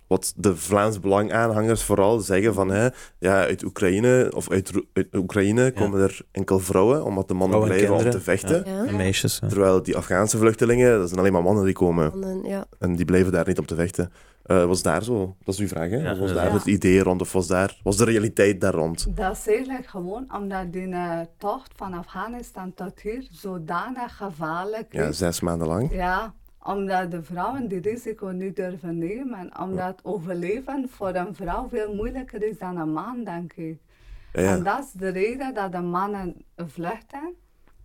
wat de Vlaams Belang-aanhangers vooral zeggen van hè, ja, uit Oekraïne of uit, Ro- uit Oekraïne komen er enkel vrouwen, omdat de mannen
Vrouwen en
blijven om te
kinderen,
vechten.
Ja.
En meisjes. hè.
Terwijl die Afghaanse vluchtelingen, dat zijn alleen maar mannen die komen.
Mannen, ja.
En die blijven daar niet om te vechten. Eh, was daar zo? Dat is uw vraag, hè?
Ja,
was daar
ja.
het idee rond of was, daar, was de realiteit daar rond?
Dat is eigenlijk gewoon omdat die eh, tocht van Afghanistan tot hier zodanig gevaarlijk
Ja,
is.
zes maanden lang.
Ja, omdat de vrouwen die risico niet durven nemen. Omdat overleven voor een vrouw veel moeilijker is dan een man, denk ik.
Ja, ja.
En dat is de reden dat de mannen vluchten.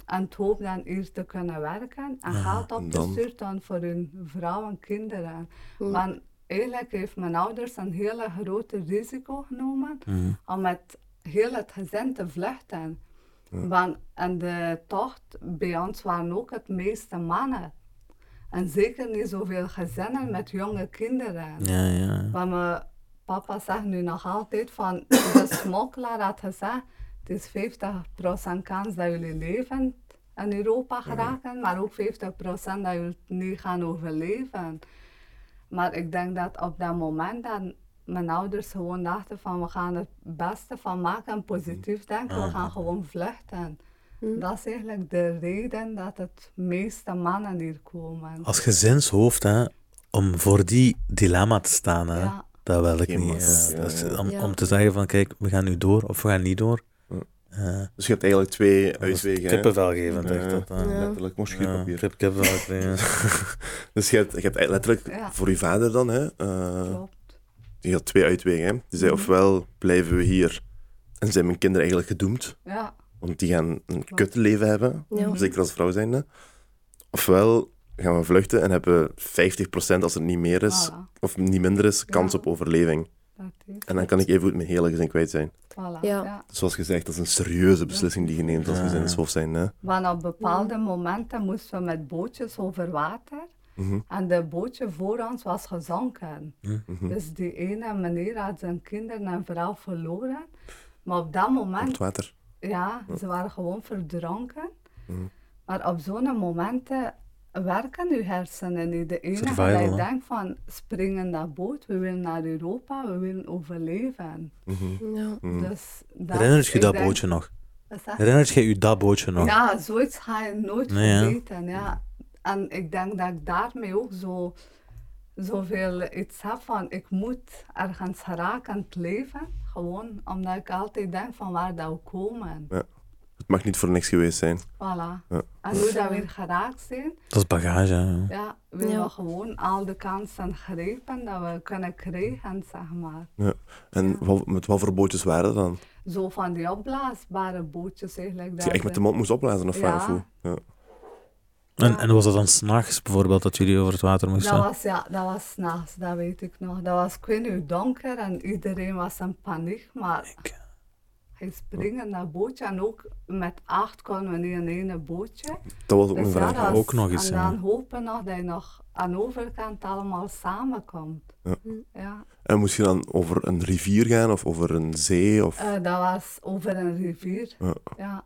En het hoop dan hier te kunnen werken. En geld op te
Ah, dan-
sturen voor hun vrouw en kinderen. Want eigenlijk heeft mijn ouders een hele grote risico genomen.
Mhm.
Om met heel het gezin te vluchten. Want en de tocht bij ons waren ook het meeste mannen. En zeker niet zoveel gezinnen met jonge kinderen.
Ja, ja.
Maar mijn papa zegt nu nog altijd van, de smokkelaar had gezegd, het is 50% kans dat jullie levend in Europa geraken, maar ook 50% dat jullie het niet gaan overleven. Maar ik denk dat op dat moment dat mijn ouders gewoon dachten van, we gaan het beste van maken en positief denken, we gaan gewoon vluchten. Dat is eigenlijk de reden dat het meeste mannen hier komen.
Als gezinshoofd, hè, om voor die dilemma te staan, hè,
Ja.
dat wil ik
Geen
niet.
mas-
hè.
ja,
Dat is
ja.
Om,
Ja.
om te zeggen van, kijk, we gaan nu door of we gaan niet door. Eh,
Dus je hebt eigenlijk twee
dat is
uitwegen. hè?
Kippenvelgevend, echt. Dat, hè.
Ja.
Letterlijk, moscheepapier.
Ja, kip- kippenvel krijgen.
Dus je hebt, je hebt eigenlijk letterlijk
Ja.
voor je vader dan, hè, eh,
Klopt.
je had twee uitwegen. Hè. Die
Mhm.
zei, ofwel blijven we hier en zijn mijn kinderen eigenlijk gedoemd,
Ja,
want die gaan een kut leven hebben,
Ja.
zeker als vrouw zijnde. Ofwel gaan we vluchten en hebben 50% als het niet meer is,
Voilà.
of niet minder is, kans
Ja.
op overleving.
dat is
En dan kan ik even goed mijn hele gezin kwijt zijn.
Voilà,
Ja.
ja.
Dus zoals gezegd, dat is een serieuze beslissing die je neemt als
Ja.
gezinshoofd zijn. Hè.
Want op bepaalde momenten moesten we met bootjes over water.
Mhm.
En de bootje voor ons was gezonken.
mhm.
Dus die ene meneer had zijn kinderen en vrouw verloren. Maar op dat
Op
moment,
het water.
ja, ze waren gewoon verdronken.
Mhm.
Maar op zo'n momenten werken uw hersenen niet. De enige
Survival,
dat je
hè?
denkt van, spring in dat boot, we willen naar Europa, we willen overleven.
Ja.
Dus dat,
Mhm. Herinnert je
ik
dat
denk-
bootje nog?
Wat zeg je?
Herinnert je je dat bootje nog?
Ja, zoiets ga je nooit
Nee, hè?
vergeten. Ja. En ik denk dat ik daarmee ook zo, zoveel iets heb van ik moet ergens geraken in het leven. Gewoon omdat ik altijd denk van waar dat we komen.
Het mag niet voor niks geweest zijn.
Voilà.
Ja.
En hoe dat we geraakt zijn,
Dat is bagage, hè. ja.
ja, willen
Ja.
we gewoon al de kansen grijpen dat we kunnen krijgen, zeg maar.
Ja. En wat- met wat voor bootjes waren dat dan?
Zo van die opblaasbare bootjes eigenlijk.
Dat je echt met de mond moest opblazen of waar,
Ja.
of hoe? Ja.
En, en was dat dan s'nachts bijvoorbeeld dat jullie over het water moesten?
Dat was, ja, dat was s'nachts, dat weet ik nog. Dat was, ik weet niet, donker en iedereen was in paniek, maar
Ik-
Hij springen naar bootje en ook met acht konden we niet in één bootje.
Dat was ook
Dus
een
ja,
vraag.
dat is-
Ook nog eens,
En
ja.
dan hopen nog dat je nog aan de overkant allemaal samenkomt.
Ja.
Ja.
En moest je dan over een rivier gaan of over een zee? Of,
Eh, dat was over een rivier.
Ja.
Ja.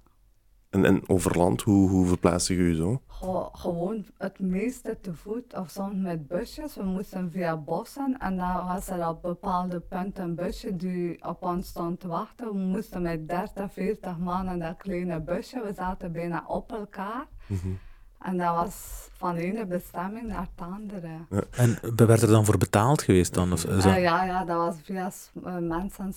en, en over land, hoe, hoe verplaatste je je zo?
Go- gewoon het meeste te voet of soms met busjes. We moesten via bossen en dan was er op bepaalde punten een busje die op ons stond te wachten. We moesten met 30, 40 man in dat kleine busje. We zaten bijna op elkaar. En dat was van de ene bestemming naar de andere.
En werd er dan voor betaald geweest dan? Of, zo?
Eh, ja, ja, dat was via s- eh,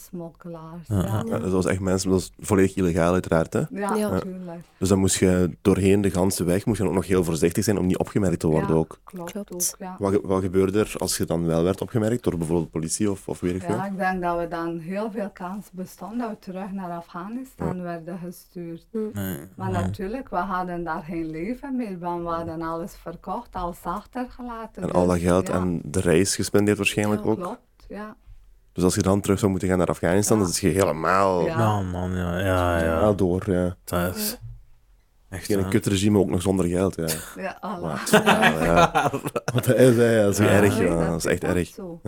mensensmokkelaars.
Ja,
Ja,
Ja, Eh, dat was echt mensen, dat was volledig illegaal uiteraard. Hè?
ja,
Ja.
natuurlijk.
Dus dan moest je doorheen de ganse weg moest je ook nog heel voorzichtig zijn om niet opgemerkt te worden
Ja,
ook.
Klopt,
Klopt.
ook, ja.
Wat, ge- wat gebeurde er als je dan wel werd opgemerkt door bijvoorbeeld politie of, of weet ik veel?
Ja, ik denk dat we dan heel veel kans bestond dat we terug naar Afghanistan werden gestuurd.
Nee.
Maar natuurlijk, we hadden daar geen leven meer, want we hadden alles verkocht, alles achtergelaten.
En al dat
Dus,
geld
ja,
en de reis gespendeerd waarschijnlijk
Ja,
ook.
Klopt, ja.
Dus als je dan terug zou moeten gaan naar Afghanistan,
Ja.
dan is je helemaal
Ja.
Nou, man, ja, ja, ja.
ja, door. Ja.
Dat is echt
Geen
hè.
kutregime, ook nog zonder geld. Ja.
ja voilà.
Wat, ja, ja. Wat dat is, hè, ja, dat is
Ja.
erg.
Nee,
Ja. Dat is echt
ook
erg.
zo.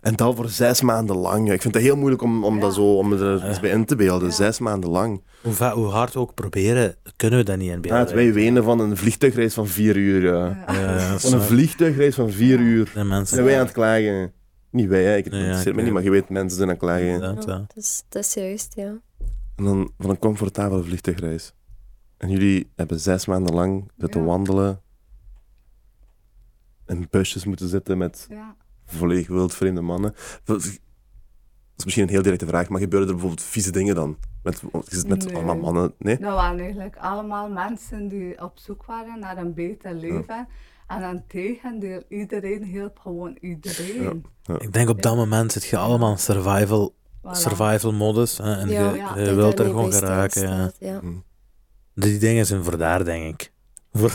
En dat voor zes maanden lang. ja. Ik vind het heel moeilijk om, om, dat zo, om er iets bij in te beelden. Zes maanden lang.
Hoe, va- hoe hard we ook proberen, kunnen we dat niet in beeld.
Ja, het wij wenen van een vliegtuigreis van vier uur. Ja.
Ja, dat is
Van een
waar.
vliegtuigreis van vier uur.
De mensen.
Zijn wij aan het klagen? Niet wij, hè. ik
Nee, ja,
interesseer
ik
me
weet
niet, maar je weet, mensen zijn aan het klagen.
inderdaad, ja.
Dat is, dat is juist, ja.
En dan van een comfortabele vliegtuigreis. En jullie hebben zes maanden lang zitten
Ja.
wandelen. In busjes moeten zitten met
Ja.
volledig wildvreemde mannen. Dat is misschien een heel directe vraag, maar gebeuren er bijvoorbeeld vieze dingen dan? Met, want je zit met
Nee.
allemaal mannen. Nee?
Dat waren eigenlijk allemaal mensen die op zoek waren naar een beter leven. En een tegendeel, iedereen hielp gewoon iedereen.
Ik denk op dat moment zit je allemaal in survival,
Voilà.
survival modus. hè, En
Ja,
je,
ja,
je
Dat
wilt
daar
er
niet
gewoon
bij
geraken. ja. Hm.
stilstaat, ja.
Die dingen zijn voor daar, denk ik. Voor,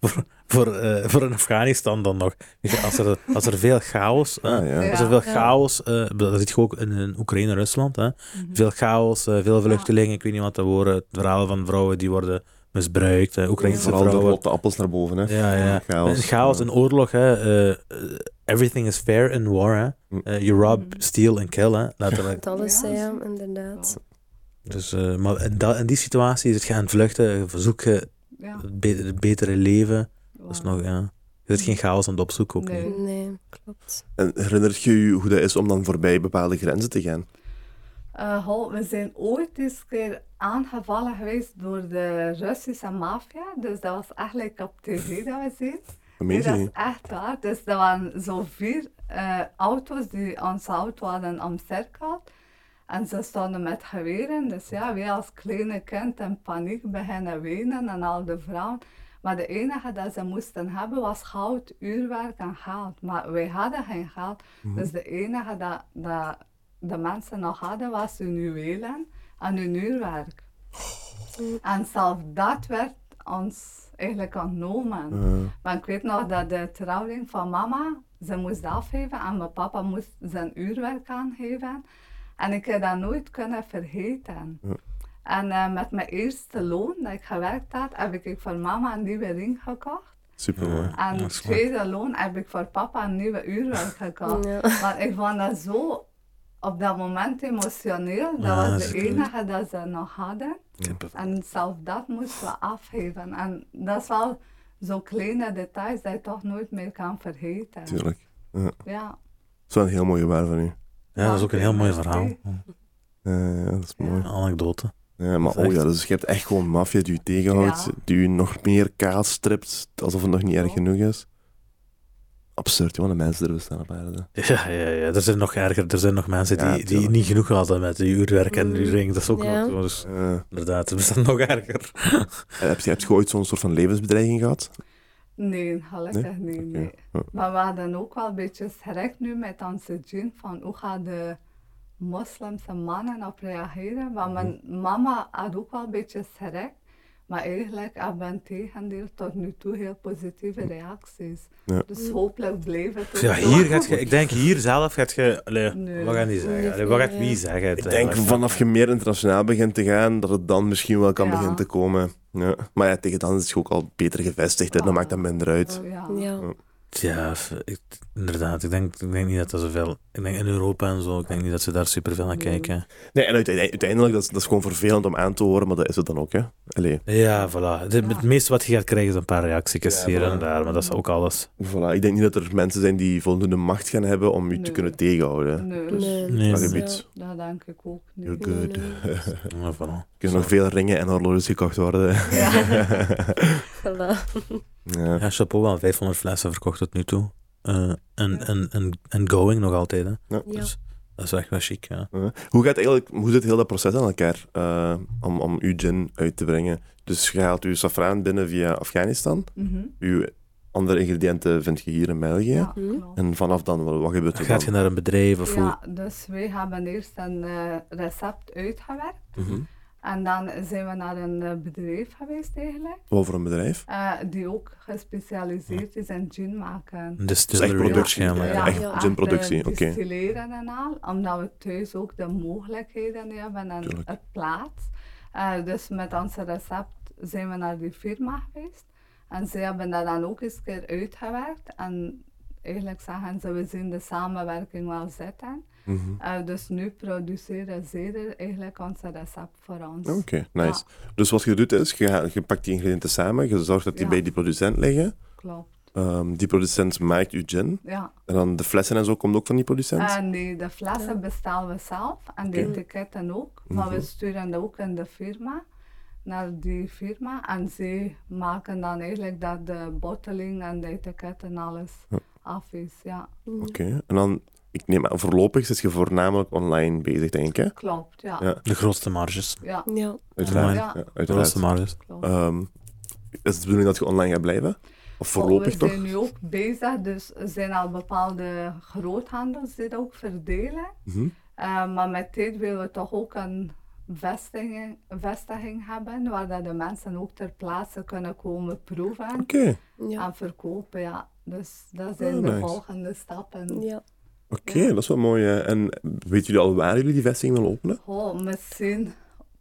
voor, voor, eh, voor in Afghanistan dan nog. Weet je, Als er, als er veel chaos, eh,
Ah, ja.
Ja.
als er veel
Ja.
chaos, eh, dat zit je ook in, in Oekraïne en Rusland. Hè. Veel chaos, eh, veel vluchtelingen, ik weet niet wat dat worden. Het verhaal van vrouwen die worden misbruikt, eh, Oekraïnse
Vooral de
vrouwen.
rotte appels naar boven. Hè?
Ja, ja.
Chaos.
Chaos, chaos en oorlog, hè. eh, eh, everything is fair in war, hè.
Mm.
Eh, you rob, steal en kill, hè. Letterlijk.
Dat alles,
Ja.
ja, inderdaad.
Dus, eh, maar in, dat- in die situatie zit je aan het vluchten, verzoek je
Ja,
het, be- het betere leven. Dat is
nou
voilà.
nog, ja. Je zit geen chaos aan het opzoeken ook
Nee.
niet.
Nee, klopt.
En herinnert je je hoe dat is om dan voorbij bepaalde grenzen te gaan?
Eh, goh, we zijn ooit eens een keer aangevallen geweest door de Russische maffia. Dus dat was eigenlijk op tv dat we zien.
Dat meen
Nee,
je
dat is
niet.
echt waar. Dus dat waren zo vier eh, auto's die onze auto hadden omcirkeld. En ze stonden met geweren. Dus ja, wij als kleine kind in paniek beginnen wenen en al de vrouwen. Maar de enige dat ze moesten hebben was goud, uurwerk en geld. Maar wij hadden geen geld. Dus de enige dat, dat de mensen nog hadden was hun juwelen en hun uurwerk. En zelfs dat werd ons eigenlijk ontnomen. Want ik weet nog dat de trouwring van mama, ze moest afgeven en mijn papa moest zijn uurwerk aangeven. En ik heb dat nooit kunnen vergeten. En eh, met mijn eerste loon dat ik gewerkt had, heb ik voor mama een nieuwe ring gekocht.
Super mooi.
En
dat
het
is waar.
tweede loon heb ik voor papa een nieuwe uurwerk gekocht.
Ja.
Want ik vond dat zo op dat moment emotioneel. Dat
Ja, dat
was
is
de
goed.
enige dat ze nog hadden.
Kippenvel.
En zelfs dat moesten we afgeven. En dat is wel zo'n kleine details dat je toch nooit meer kan vergeten.
Tuurlijk. Ja. Dat
Ja,
is wel een heel mooie waar van u.
Ja, dat is ook een heel mooi verhaal.
Ja, ja, dat is mooi.
Een anekdote.
Ja, maar
Dat is
oh ja,
echt-
dus je hebt echt gewoon maffia die je tegenhoudt,
Ja.
die je nog meer kaal stript, alsof het nog niet erg
Ja.
genoeg is. Absurd, joh, de mensen er bestaan op aarde.
Ja, ja, ja, er zijn nog erger. Er zijn nog mensen
Ja,
die, die
tuurlijk.
niet genoeg hadden met die uurwerk en die ring. Dat is ook
Ja.
nog zo. Dus
Eh,
inderdaad, het bestaat nog erger.
heb, je, heb je ooit zo'n soort van levensbedreiging gehad?
Nee, gelukkig niet.
Oké.
nee.
Ja.
Maar we hadden ook wel een beetje schrik nu met onze jean van hoe gaan de
Mhm.
moslimse mannen op reageren. Want mijn mama had ook wel een beetje schrik. Maar eigenlijk, ik ben tegendeel tot nu toe heel positieve reacties.
Ja.
Dus hopelijk blijft het.
Ja,
ook zo.
hier gaat je, ik denk hier zelf gaat je, allee,
Nee.
wat gaan die zeggen? Allee, wat gaat wie zeggen?
Ik denk
uiteindelijk?
vanaf je meer internationaal begint te gaan, dat het dan misschien wel kan
Ja.
beginnen te komen. Ja. Maar ja, tegen dan is je ook al beter gevestigd en dan maakt dat minder uit.
Ja.
Ja.
Ja, f- ik- inderdaad. Ik denk, ik denk niet dat dat zoveel... Ik denk in Europa en zo, ik denk niet dat ze daar superveel naar kijken.
Nee, en uiteindelijk, uiteindelijk dat, is, dat is gewoon vervelend om aan te horen, maar dat is het dan ook, hè? Allee,
Ja, voilà. De- Het meeste wat je gaat krijgen is een paar reacties
Ja,
hier en
voilà.
daar, maar dat is ook alles.
voilà. Ik denk niet dat er mensen zijn die voldoende macht gaan hebben om je te
Nee.
kunnen tegenhouden.
Nee,
Nee.
Nee.
Dat
Ja.
gebied.
dus dat denk ik ook niet.
You're good. Er
Ja, voilà.
kunnen nog veel ringen en horloges gekocht worden.
Voilà.
Ja.
Ja, chapeau, wel 500 flessen verkocht tot nu toe. Eh, en, en, en, en going nog altijd, hè.
Ja.
Dus dat is echt wel chic, ja.
Ja. Hoe, gaat eigenlijk, hoe zit heel dat proces aan elkaar eh, om, om uw gin uit te brengen? Dus je haalt uw safraan binnen via Afghanistan.
Mhm.
Uw andere ingrediënten vind je hier in België.
Ja,
Hm?
klopt.
En vanaf dan, wat, wat gebeurt er
Gaat je
dan?
naar een bedrijf of hoe?
Mhm. Ja, dus wij hebben eerst een eh, recept uitgewerkt.
Mhm.
En dan zijn we naar een eh, bedrijf geweest eigenlijk,
Wat voor een bedrijf?
eh, die ook gespecialiseerd is in gin maken.
Een
Dus echt
distillery
productie.
waarschijnlijk.
Ja,
Ja.
echt
Ja,
echt,
ginproductie,
eh,
oké.
distilleren en al, omdat we thuis ook de mogelijkheden hebben en
Tuurlijk.
het plaats. Eh, dus met ons recept zijn we naar die firma geweest. En ze hebben dat dan ook eens een keer uitgewerkt. En eigenlijk zeggen ze, we zien de samenwerking wel zitten.
Mhm.
Eh, dus nu produceren zij er eigenlijk ons recept voor ons.
Oké, nice. Dus wat je doet is, je, gaat- je pakt die ingrediënten samen, je zorgt dat die
Ja.
bij die producent liggen.
Klopt,
Ehm, die producent maakt uw gin.
ja. Eh,
En dan de flessen en zo komt ook van die producent.
En die, de flessen bestellen we zelf en de
Dus- Oké.
etiketten ook. Maar we sturen dat ook in de firma, naar die firma. En zij maken dan eigenlijk dat de botteling en de etiketten alles af is. Ja,
Oké, en dan, ik neem aan, voorlopig zit je voornamelijk online bezig, denk ik, hè?
klopt, ja.
Ja.
Ja,
De grootste marges.
ja,
Ja.
Uiteraard.
Ja.
Ja,
De
uiteraard.
grootste marges.
klopt.
Ehm, is het de bedoeling dat je online gaat blijven? Of voorlopig
Oh, we
toch?
zijn nu ook bezig, dus er zijn al bepaalde groothandels die dat ook verdelen.
Mhm.
Eh, maar met tijd willen we toch ook een vestiging, vestiging hebben waar dat de mensen ook ter plaatse kunnen komen proeven
Oké,
Ja.
en verkopen. Ja. Dus dat zijn
Oh,
de
nice.
volgende stappen.
Ja.
oké, dat is wel mooi. hè. En weten jullie al waar jullie die vestiging willen openen?
Oh, misschien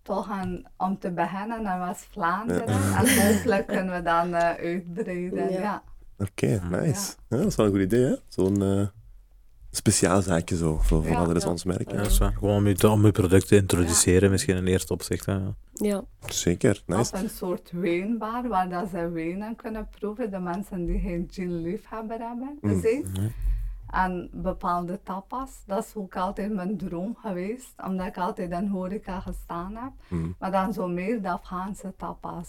toch een, om te beginnen naar West-Vlaanderen en hopelijk kunnen we dan eh, uitbreiden.
Ja.
Ja.
Oké, nice. Ja, dat is wel een goed idee, hè? Zo'n eh, speciaal zaakje zo, voor, voor
Ja,
wat er is
ja.
ons merk.
Ja, dat is waar. Gewoon om je, om je product te introduceren, misschien in eerste opzicht. Hè. ja.
Ja.
Zeker, nice.
Op een soort wijnbar waar dat ze wijnen kunnen proeven. De mensen die geen gin liefhebber hebben zijn. En bepaalde tapas. Dat is ook altijd mijn droom geweest. Omdat ik altijd in horeca gestaan heb. Maar dan zo meer de Afghaanse tapas.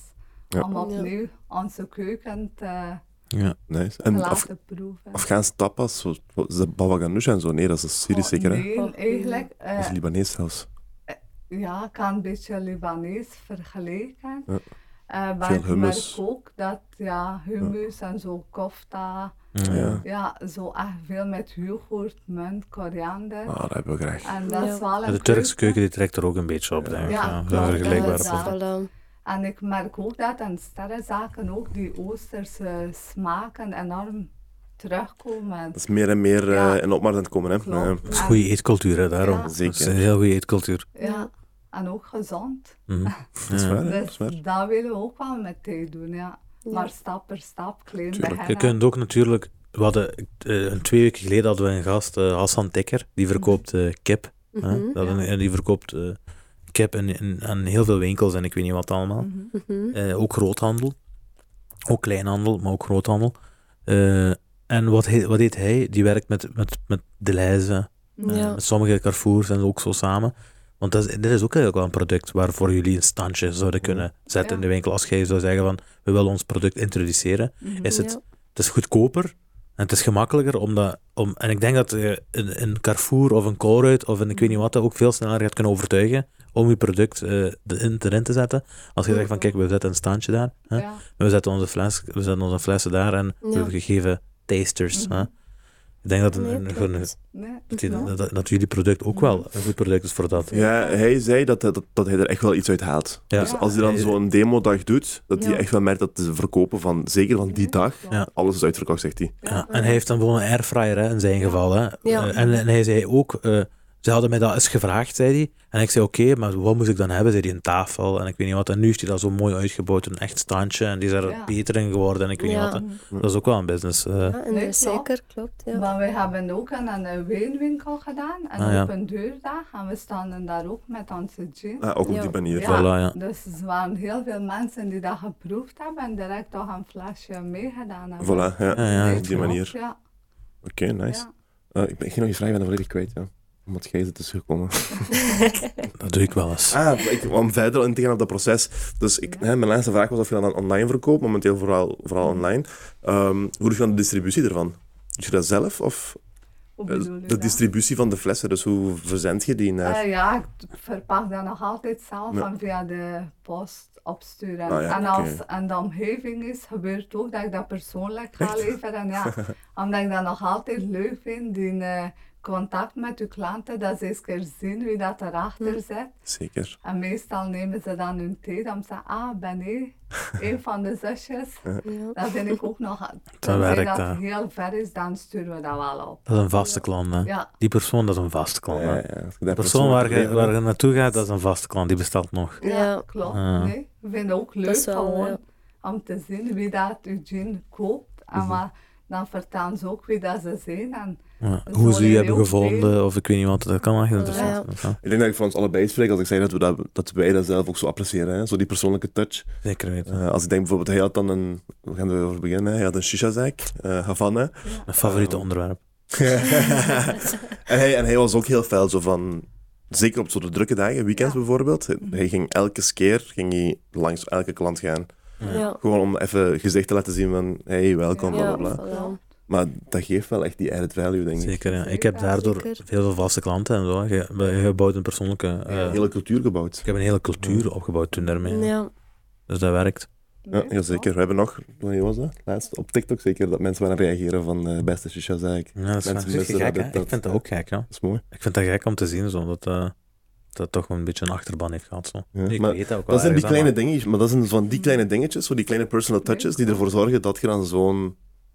Om opnieuw onze keuken te,
Ja.
nice.
te
En Af
laten proeven.
Afghaanse tapas, zo, wat is dat baba ganoush en zo? Nee, dat is Syrisch zeker, hè?
Oh, Nee, eigenlijk... eh,
Dat is Libanees zelfs.
ja, ik kan een beetje Libanees vergelijken.
Ja.
Eh, maar
Veel
ik
hummus.
merk ook dat ja, hummus en zo kofta,
Ja.
ja, zo echt veel met yoghurt, munt, koriander.
Ah, dat hebben we graag.
En dat is
Ja.
wel een
De Turkse keuken die trekt er ook een beetje op, denk ik.
Ja,
Ja,
klopt.
ja, vergelijkbaar.
Ja,
Ja,
dat
Voilà.
En ik merk ook dat in sterrenzaken ook die Oosterse smaken enorm terugkomen.
Dat is meer en meer eh,
Ja.
in opmars aan het komen, hè?
Klopt.
Ja.
is goede eetcultuur, hè, daarom.
Ja.
Dat is
Zeker.
een heel goede eetcultuur.
Ja. En ook gezond.
Mhm.
Dat is waar, hè? dat
Dus
is waar.
dat willen we ook wel met thee doen, ja. Maar stap per stap, klein
Je
beginnen.
kunt ook natuurlijk... We hadden, eh, een twee weken geleden hadden we een gast, eh, Hassan Tekker, die verkoopt eh, kip. hè. Dat een- en die verkoopt eh, kip in, in- aan heel veel winkels en ik weet niet wat allemaal. Eh, ook groothandel. Ook kleinhandel, maar ook groothandel. Eh, en wat, he- wat deed hij? Die werkt met, met, met de lijzen, eh,
Ja.
met sommige Carrefours en ook zo samen. Want dat is, dit is ook eigenlijk wel een product waarvoor jullie een standje zouden
Mm.
kunnen zetten in de winkel. Als jij zou zeggen van, we willen ons product introduceren, is het,
Mhm. Ja.
het is goedkoper en het is gemakkelijker. Omdat, om, en ik denk dat je een, een Carrefour of een Colruyt of een ik weet niet wat dat ook veel sneller gaat kunnen overtuigen om je product eh, erin, erin te zetten. Als je zegt van, kijk, we zetten een standje daar. Hè?
Ja.
We zetten onze, fles, we zetten onze flessen daar en we
Ja. Mhm.
hebben gegeven tasters. hè. Ik denk dat, een,
Nee,
een-
klopt.
een-
Nee,
dat, die-
ja.
dat, dat- dat jullie product ook wel een goed product is voor dat.
Ja, hij zei dat, dat, dat hij er echt wel iets uit haalt.
Ja.
Dus als hij dan
Ja.
zo'n demodag doet, dat hij
Ja.
echt wel merkt dat ze verkopen van, zeker van die dag,
Ja.
alles is uitverkocht, zegt hij.
Ja, en hij heeft dan gewoon een airfryer hè, in zijn geval. Hè.
Ja.
Eh, en, en hij zei ook, eh, ze hadden mij dat eens gevraagd, zei hij. En ik zei, oké, maar wat moest ik dan hebben? Zei hij, een tafel en ik weet niet wat. En nu is hij dat zo mooi uitgebouwd, een echt standje. En die is er
Ja.
beter in geworden en ik weet
Ja.
niet wat. hè. Dat is ook wel een business. eh.
Ja, en
Nee,
dat is
klopt.
zeker, klopt. Ja.
Maar wij hebben ook aan een eh, wijnwinkel gedaan, en
Ah, ja.
op een deurdag. En we stonden daar ook met onze gin.
Ah, ook op
Ja.
die manier.
Ja. Voilà, ja.
Dus er waren heel veel mensen die dat geproefd hebben en direct toch een flasje meegedaan hebben.
Voilà, ja.
Ja, ja.
op die
klopt,
manier.
Ja.
Oké, nice.
Ja.
Eh, ik ben ik ging nog je vraag, ik ben er volledig kwijt, ja. Omdat jij het is gekomen.
Dat doe ik wel eens.
Ah, ik, om verder in te gaan op dat proces. Dus ik, hè, mijn laatste vraag was of je dan online verkoopt, momenteel vooral, vooral
Mm.
online. Ehm, hoe doe je dan de distributie ervan? Doe je dat zelf of
Hoe
eh,
bedoel je
de
dat?
distributie van de flessen? Dus hoe verzend je die naar...
Eh, ja, ik t- verpak dat nog altijd zelf
Ja.
en via de post opsturen.
Ah, ja,
en
oké.
als en de omgeving is, gebeurt ook dat ik dat persoonlijk ga leveren. Ja. Omdat ik dat nog altijd leuk vind, die eh, contact met uw klanten, dat ze eens keer zien wie dat erachter
Hm.
zit.
Zeker.
En meestal nemen ze dan hun thee om te zeggen, ah, ben ik een van de zusjes.
Ja.
Dat vind ik ook nog,
Dat
tenzij
werkt,
dat
hè.
heel ver is, dan sturen we dat wel op.
Dat is een vaste klant. Hè.
Ja.
Die persoon, dat is een vaste klant. hè.
Ja, ja, als je dat
De persoon
persoonlijk
waar je,
levert,
waar je naartoe gaat, dat is een vaste klant. Die bestaat nog.
Ja,
Ja.
klopt.
Ja.
Nee, ik vind het ook leuk
is wel,
gewoon
ja.
om te zien wie dat uw gin koopt. En
Mhm.
wat, dan vertellen ze ook wie dat ze zijn. En
Ja.
Dat
Hoe
hoor
ze je
je
hebben
ook
gevonden, of ik weet niet wat. Dat kan echt interessant zijn. Ja.
Ik denk dat ik voor ons allebei spreek als ik zei dat, we dat, dat wij dat zelf ook zo appreciëren. Hè? Zo die persoonlijke touch.
Zeker weten.
Eh, als ik denk bijvoorbeeld, hij had dan een... We gaan erover beginnen. Hij had een shisha-zaak, eh Havana.
Mijn favoriete onderwerp.
En hij, en hij was ook heel fel zo van... Zeker op zo'n drukke dagen, weekends bijvoorbeeld.
Mhm.
Hij ging elke keer ging hij langs elke klant gaan.
Ja.
Gewoon om even gezicht te laten zien van... Hey, welkom,
Ja.
bla bla bla.
voilà.
Maar dat geeft wel echt die added value, denk ik.
Zeker, ja. Ik heb
Zeker,
daardoor
zeker.
veel veel vaste klanten en zo. hè. Je, je bouwt een persoonlijke... eh,
Een hele cultuur gebouwd.
ik heb een hele cultuur opgebouwd toen daarmee.
Ja.
Dus dat werkt.
Ja, heel zeker. We hebben nog, wanneer was dat? Laatst op TikTok zeker, dat mensen waren reageren van eh, beste shisha-zaak.
Ja, dat is,
Mensen
dat is
missen
gek,
dat-
hè.
dat-
Ik vind dat ook gek, ja.
Dat is mooi.
Ik vind dat gek om te zien, zo, dat eh, dat toch een beetje een achterban heeft gehad. Zo.
Ja,
ik
maar
weet dat ook wel.
Dat zijn die
ergens, hè, eh,
kleine dingetjes, maar dat zijn
Hm.
van die kleine dingetjes, zo die kleine personal touches, die ervoor zorgen dat je dan zo'n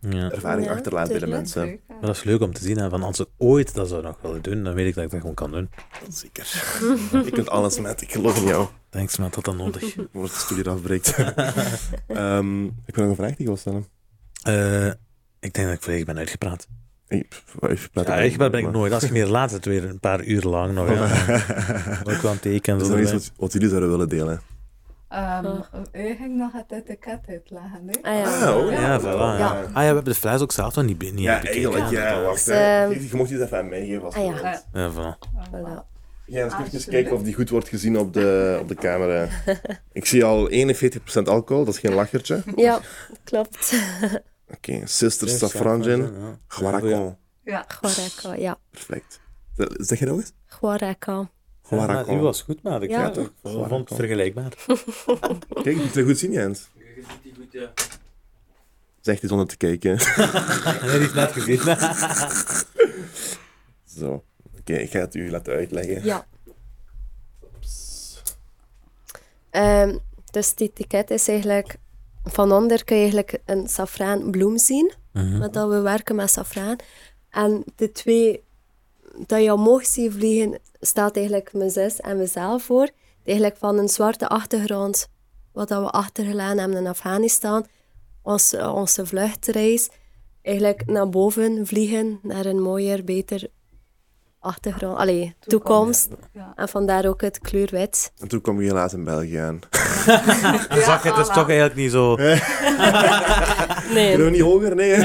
maar- Ja.
ervaring
Ja,
achterlaat bij de
tuurlijk.
mensen.
Zeker.
Maar dat is leuk om te zien. Hè, van als ik ooit dat zou nog willen doen, dan weet ik dat ik dat gewoon kan doen.
Zeker. je kunt alles met, ik geloof in jou.
Thanks, man, dat dan nodig.
Voor het studie eraf breekt. Ehm, ik wil nog een vraag die ik wil stellen.
Eh, ik denk dat ik volledig ben uitgepraat.
Ik, pff, ik praat
Ja,
ook
uitgepraat ben ik
maar- Oh,
nooit. Als je meer laat, het weer een paar uur lang nog. hè. Ook wel een teken.
Is
zo
er nog iets
erbij.
wat, wat jullie zouden willen delen?
Ehm,
Oh.
Ik ging nog het etiket uitleggen. Nee?
Ah, ja.
Ah, oh,
Ja,
Ja.
voilà. Ja.
Ja.
Ah ja, we hebben de fles ook zelf nog niet, niet
Ja,
bekeken.
eigenlijk, ja, wacht.
Dus,
hè.
ehm,
Je je mocht iets even aan mij geven. Als
Ah,
je
ja.
wilt.
Eh,
Ja, voilà.
Voilà.
Ja, eens even
Alsjeblieft.
kijken of die goed wordt gezien op de, op de camera. Ik zie al 41% alcohol, dat is geen lachertje. Oké,
Ja, klopt.
Sister Safran Gin,
Ja.
Guaracon.
ja.
Guaraca, ja.
Perfect. Zeg je nog eens?
Guaraca.
Ja,
Guaracon.
u was goed, maar ik
Ja.
ja. toch, vond het vergelijkbaar.
Kijk, je moet het goed zien, Jens. Zegt hij zonder te kijken.
Nee, die is net gezien.
Zo. Oké, ik ga het u laten uitleggen.
Ja. Ehm, dus het etiket is eigenlijk... Van onder kun je eigenlijk een safraanbloem zien. Met dat we werken met safraan. En de twee dat je mocht zien vliegen, staat eigenlijk mijn zus en mezelf voor. Eigenlijk van een zwarte achtergrond, wat dat we achtergelaten hebben in Afghanistan. Onze, onze vluchtreis. Eigenlijk naar boven vliegen, naar een mooier, beter achtergrond. Allee, toekomst.
Ja.
En vandaar ook het kleur wit.
En toen kwam je helaas in België aan.
Ja,
Zag je, het is
voilà.
toch eigenlijk niet zo...
Nee.
Kunnen we niet hoger? Nee. hè?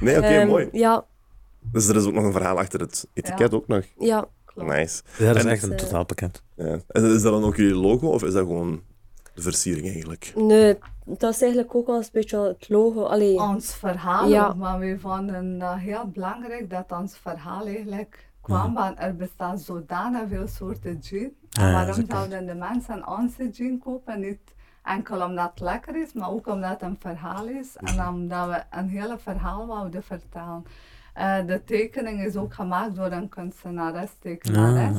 nee, oké, mooi.
Ehm, Ja,
Dus er is ook nog een verhaal achter het etiket ook nog.
ja.
Nice.
Dat is
En-
echt een totaalpakket.
Ja. En is dat dan ook jullie logo of is dat gewoon de versiering eigenlijk?
Nee, dat is eigenlijk ook al een beetje het logo. Allee,
ons verhaal,
Ja.
ook, maar we vonden dat heel belangrijk dat ons verhaal eigenlijk kwam, want er bestaan zodanig veel soorten gin. En
Mhm. ja,
waarom
zeker.
zouden de mensen onze gin kopen, niet Enkel omdat het lekker is, maar ook omdat het een verhaal is
Mhm.
en omdat we een hele verhaal wouden vertellen. Eh, de tekening is ook gemaakt door een kunstenares, tekenares.
Ah,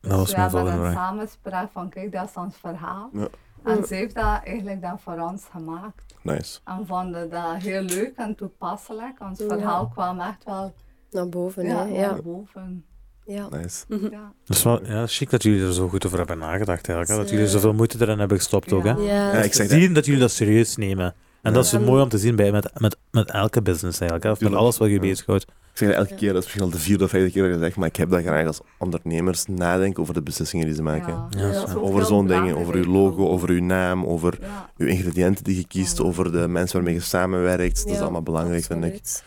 Dus
was
we
mijn
hebben
volgende
een
vraag.
samenspraak van kijk, dat is ons verhaal.
Ja.
En ze heeft dat eigenlijk dan voor ons gemaakt.
Nice.
En vonden dat heel leuk en toepasselijk. Ons
Ja.
verhaal kwam echt wel
Naar boven,
ja,
ja. Ja. Mhm.
naar boven.
ja.
Nice.
Ja.
Dat is wel ja, chic dat jullie er zo goed over hebben nagedacht eigenlijk. Hè? Dat
Ze-
jullie zoveel moeite erin hebben gestopt ook. Hè?
Ja.
Ja.
Ja, ik
Te
zeg dat.
zien dat jullie dat serieus nemen. En dat is zo
Ja.
mooi om te zien bij, met, met, met elke business eigenlijk. Hè? Of met
Tuurlijk.
alles wat je
Ja.
bezighoudt.
Ik zeg dat elke keer, dat is misschien al de vierde of vijfde keer dat ik dat zeg, maar ik heb dat graag als ondernemers nadenken over de beslissingen die ze maken.
Ja, dat is
ook
waar.
heel
Over zo'n dingen,
belangrijk.
over uw logo, over uw naam, over
Ja,
uw ingrediënten die je kiest,
Ja.
over de mensen waarmee je samenwerkt. Dat is
Ja,
allemaal belangrijk, vind ik.
absoluut.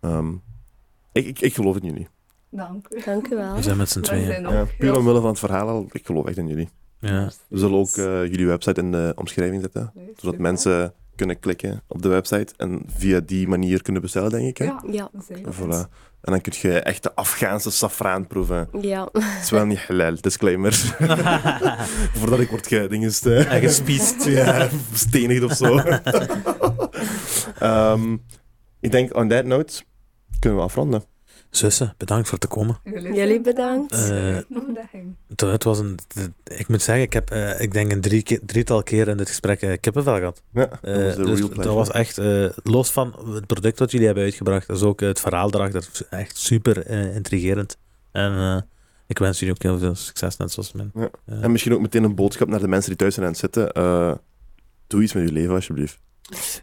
Ehm, ik, ik. Ik geloof in jullie.
dank u.
Dank u wel.
We zijn met z'n
Wij
tweeën.
zijn ook
Ja,
heel-
puur omwille van het verhaal al, ik geloof echt in jullie.
Ja.
We zullen ook eh, jullie website in de omschrijving zetten,
Leuk,
zodat
super.
mensen kunnen klikken op de website en via die manier kunnen bestellen, denk ik. Hè?
Ja,
Ja.
zeker.
En voilà. En dan kun je echt de Afghaanse safraan proeven.
Ja,
Het is wel niet halal, disclaimer. Voordat ik word gedingest. eh,
En gespiest.
ja, bestenigd of zo. Ehm, ik denk, on that note, kunnen we afronden.
Zussen, bedankt voor te komen.
jullie bedankt.
Eh, Het- Het was een, het- ik moet zeggen, ik heb eh, ik denk een drie keer, drietal keer in dit gesprek eh, kippenvel gehad.
Ja, dat
Eh,
was de
dus
real
dat
pleasure.
was echt, eh, los van het product dat jullie hebben uitgebracht, is ook het verhaal erachter echt super eh, intrigerend. En eh, ik wens jullie ook heel veel succes, net zoals mijn.
Ja.
eh,
En misschien ook meteen een boodschap naar de mensen die thuis zijn aan het zitten. eh, doe iets met je leven, alsjeblieft.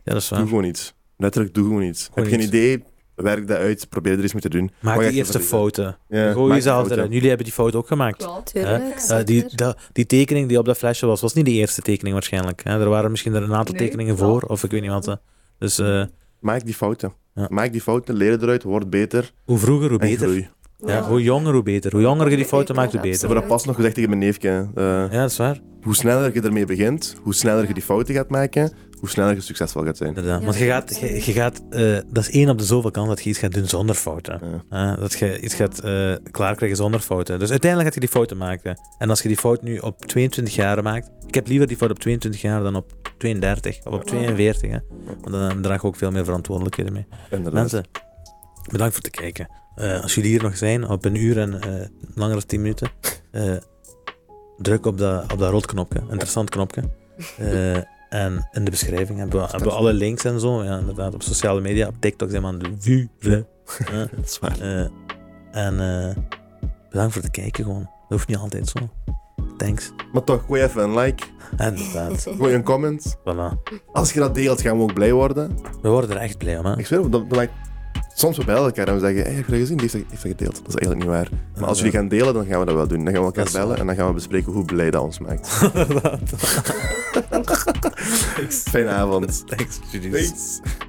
ja, dat is waar.
Doe gewoon iets. Letterlijk, doe gewoon iets.
Gewoon
Heb geen
iets.
idee, werk dat uit, probeer er iets mee te doen.
Maak
Wat
die
je
eerste
ervan
fouten.
Ja,
Gooi
maak
jezelf
een fout,
erin. Jullie hebben die fout ook gemaakt.
Klopt.
Tuurlijk.
Eh,
Eh, die,
zeker.
dat- die tekening die op dat flesje was, was niet de eerste tekening waarschijnlijk. Hè? Er waren misschien er een aantal
Nee,
tekeningen
klopt.
voor, of ik weet niet wat. hè. Dus eh,
Maak die fouten.
Ja.
Maak die fouten, leer eruit, word beter.
hoe vroeger, hoe
en
beter.
groei.
Ja, hoe jonger, hoe beter. Hoe jonger je die fouten maakt, hoe
Ik
beter.
heb dat pas nog gezegd tegen mijn neefje. eh,
Ja, dat is waar.
Hoe sneller je ermee begint, hoe sneller je die fouten gaat maken, hoe sneller je succesvol gaat zijn.
Inderdaad.
Ja,
Want je gaat, je, je gaat eh, dat is één op de zoveel kans dat je iets gaat doen zonder fouten.
Ja.
Eh, dat je iets gaat eh klaarkrijgen zonder fouten. Dus uiteindelijk gaat je die fouten maken. En als je die fout nu op 22 jaar maakt. Ik heb liever die fout op 22 jaar dan op 32 of op 42. Hè. Want dan draag ik ook veel meer verantwoordelijkheden mee.
Inderdaad.
Mensen, bedankt voor het kijken. Eh, als jullie hier nog zijn, op een uur en eh, langer dan 10 minuten, eh, druk op dat, op dat rood knopje, interessant knopje. Eh, en in de beschrijving hebben we, hebben we alle links en zo. Ja, inderdaad, op sociale media, op TikTok zijn we aan het vuren. Eh,
Dat is waar.
eh, en eh, bedankt voor het kijken gewoon. Dat hoeft niet altijd zo. Thanks.
Maar toch, gooi even een like,
En inderdaad,
gooi een comment.
voilà.
Als je dat deelt, gaan we ook blij worden.
We worden er echt blij om, hè.
Ik zweer, dat, dat lijkt... Soms we bellen elkaar en we zeggen, hey, heb je dat gezien? Die heeft dat- heeft dat gedeeld. Dat is eigenlijk niet waar. Maar als jullie gaan delen, dan gaan we dat wel doen. Dan gaan we
Dat
elkaar
is waar.
bellen en dan gaan we bespreken hoe blij dat ons maakt.
Inderdaad.
Fijne avond.
Thanks, jullie.
Thanks.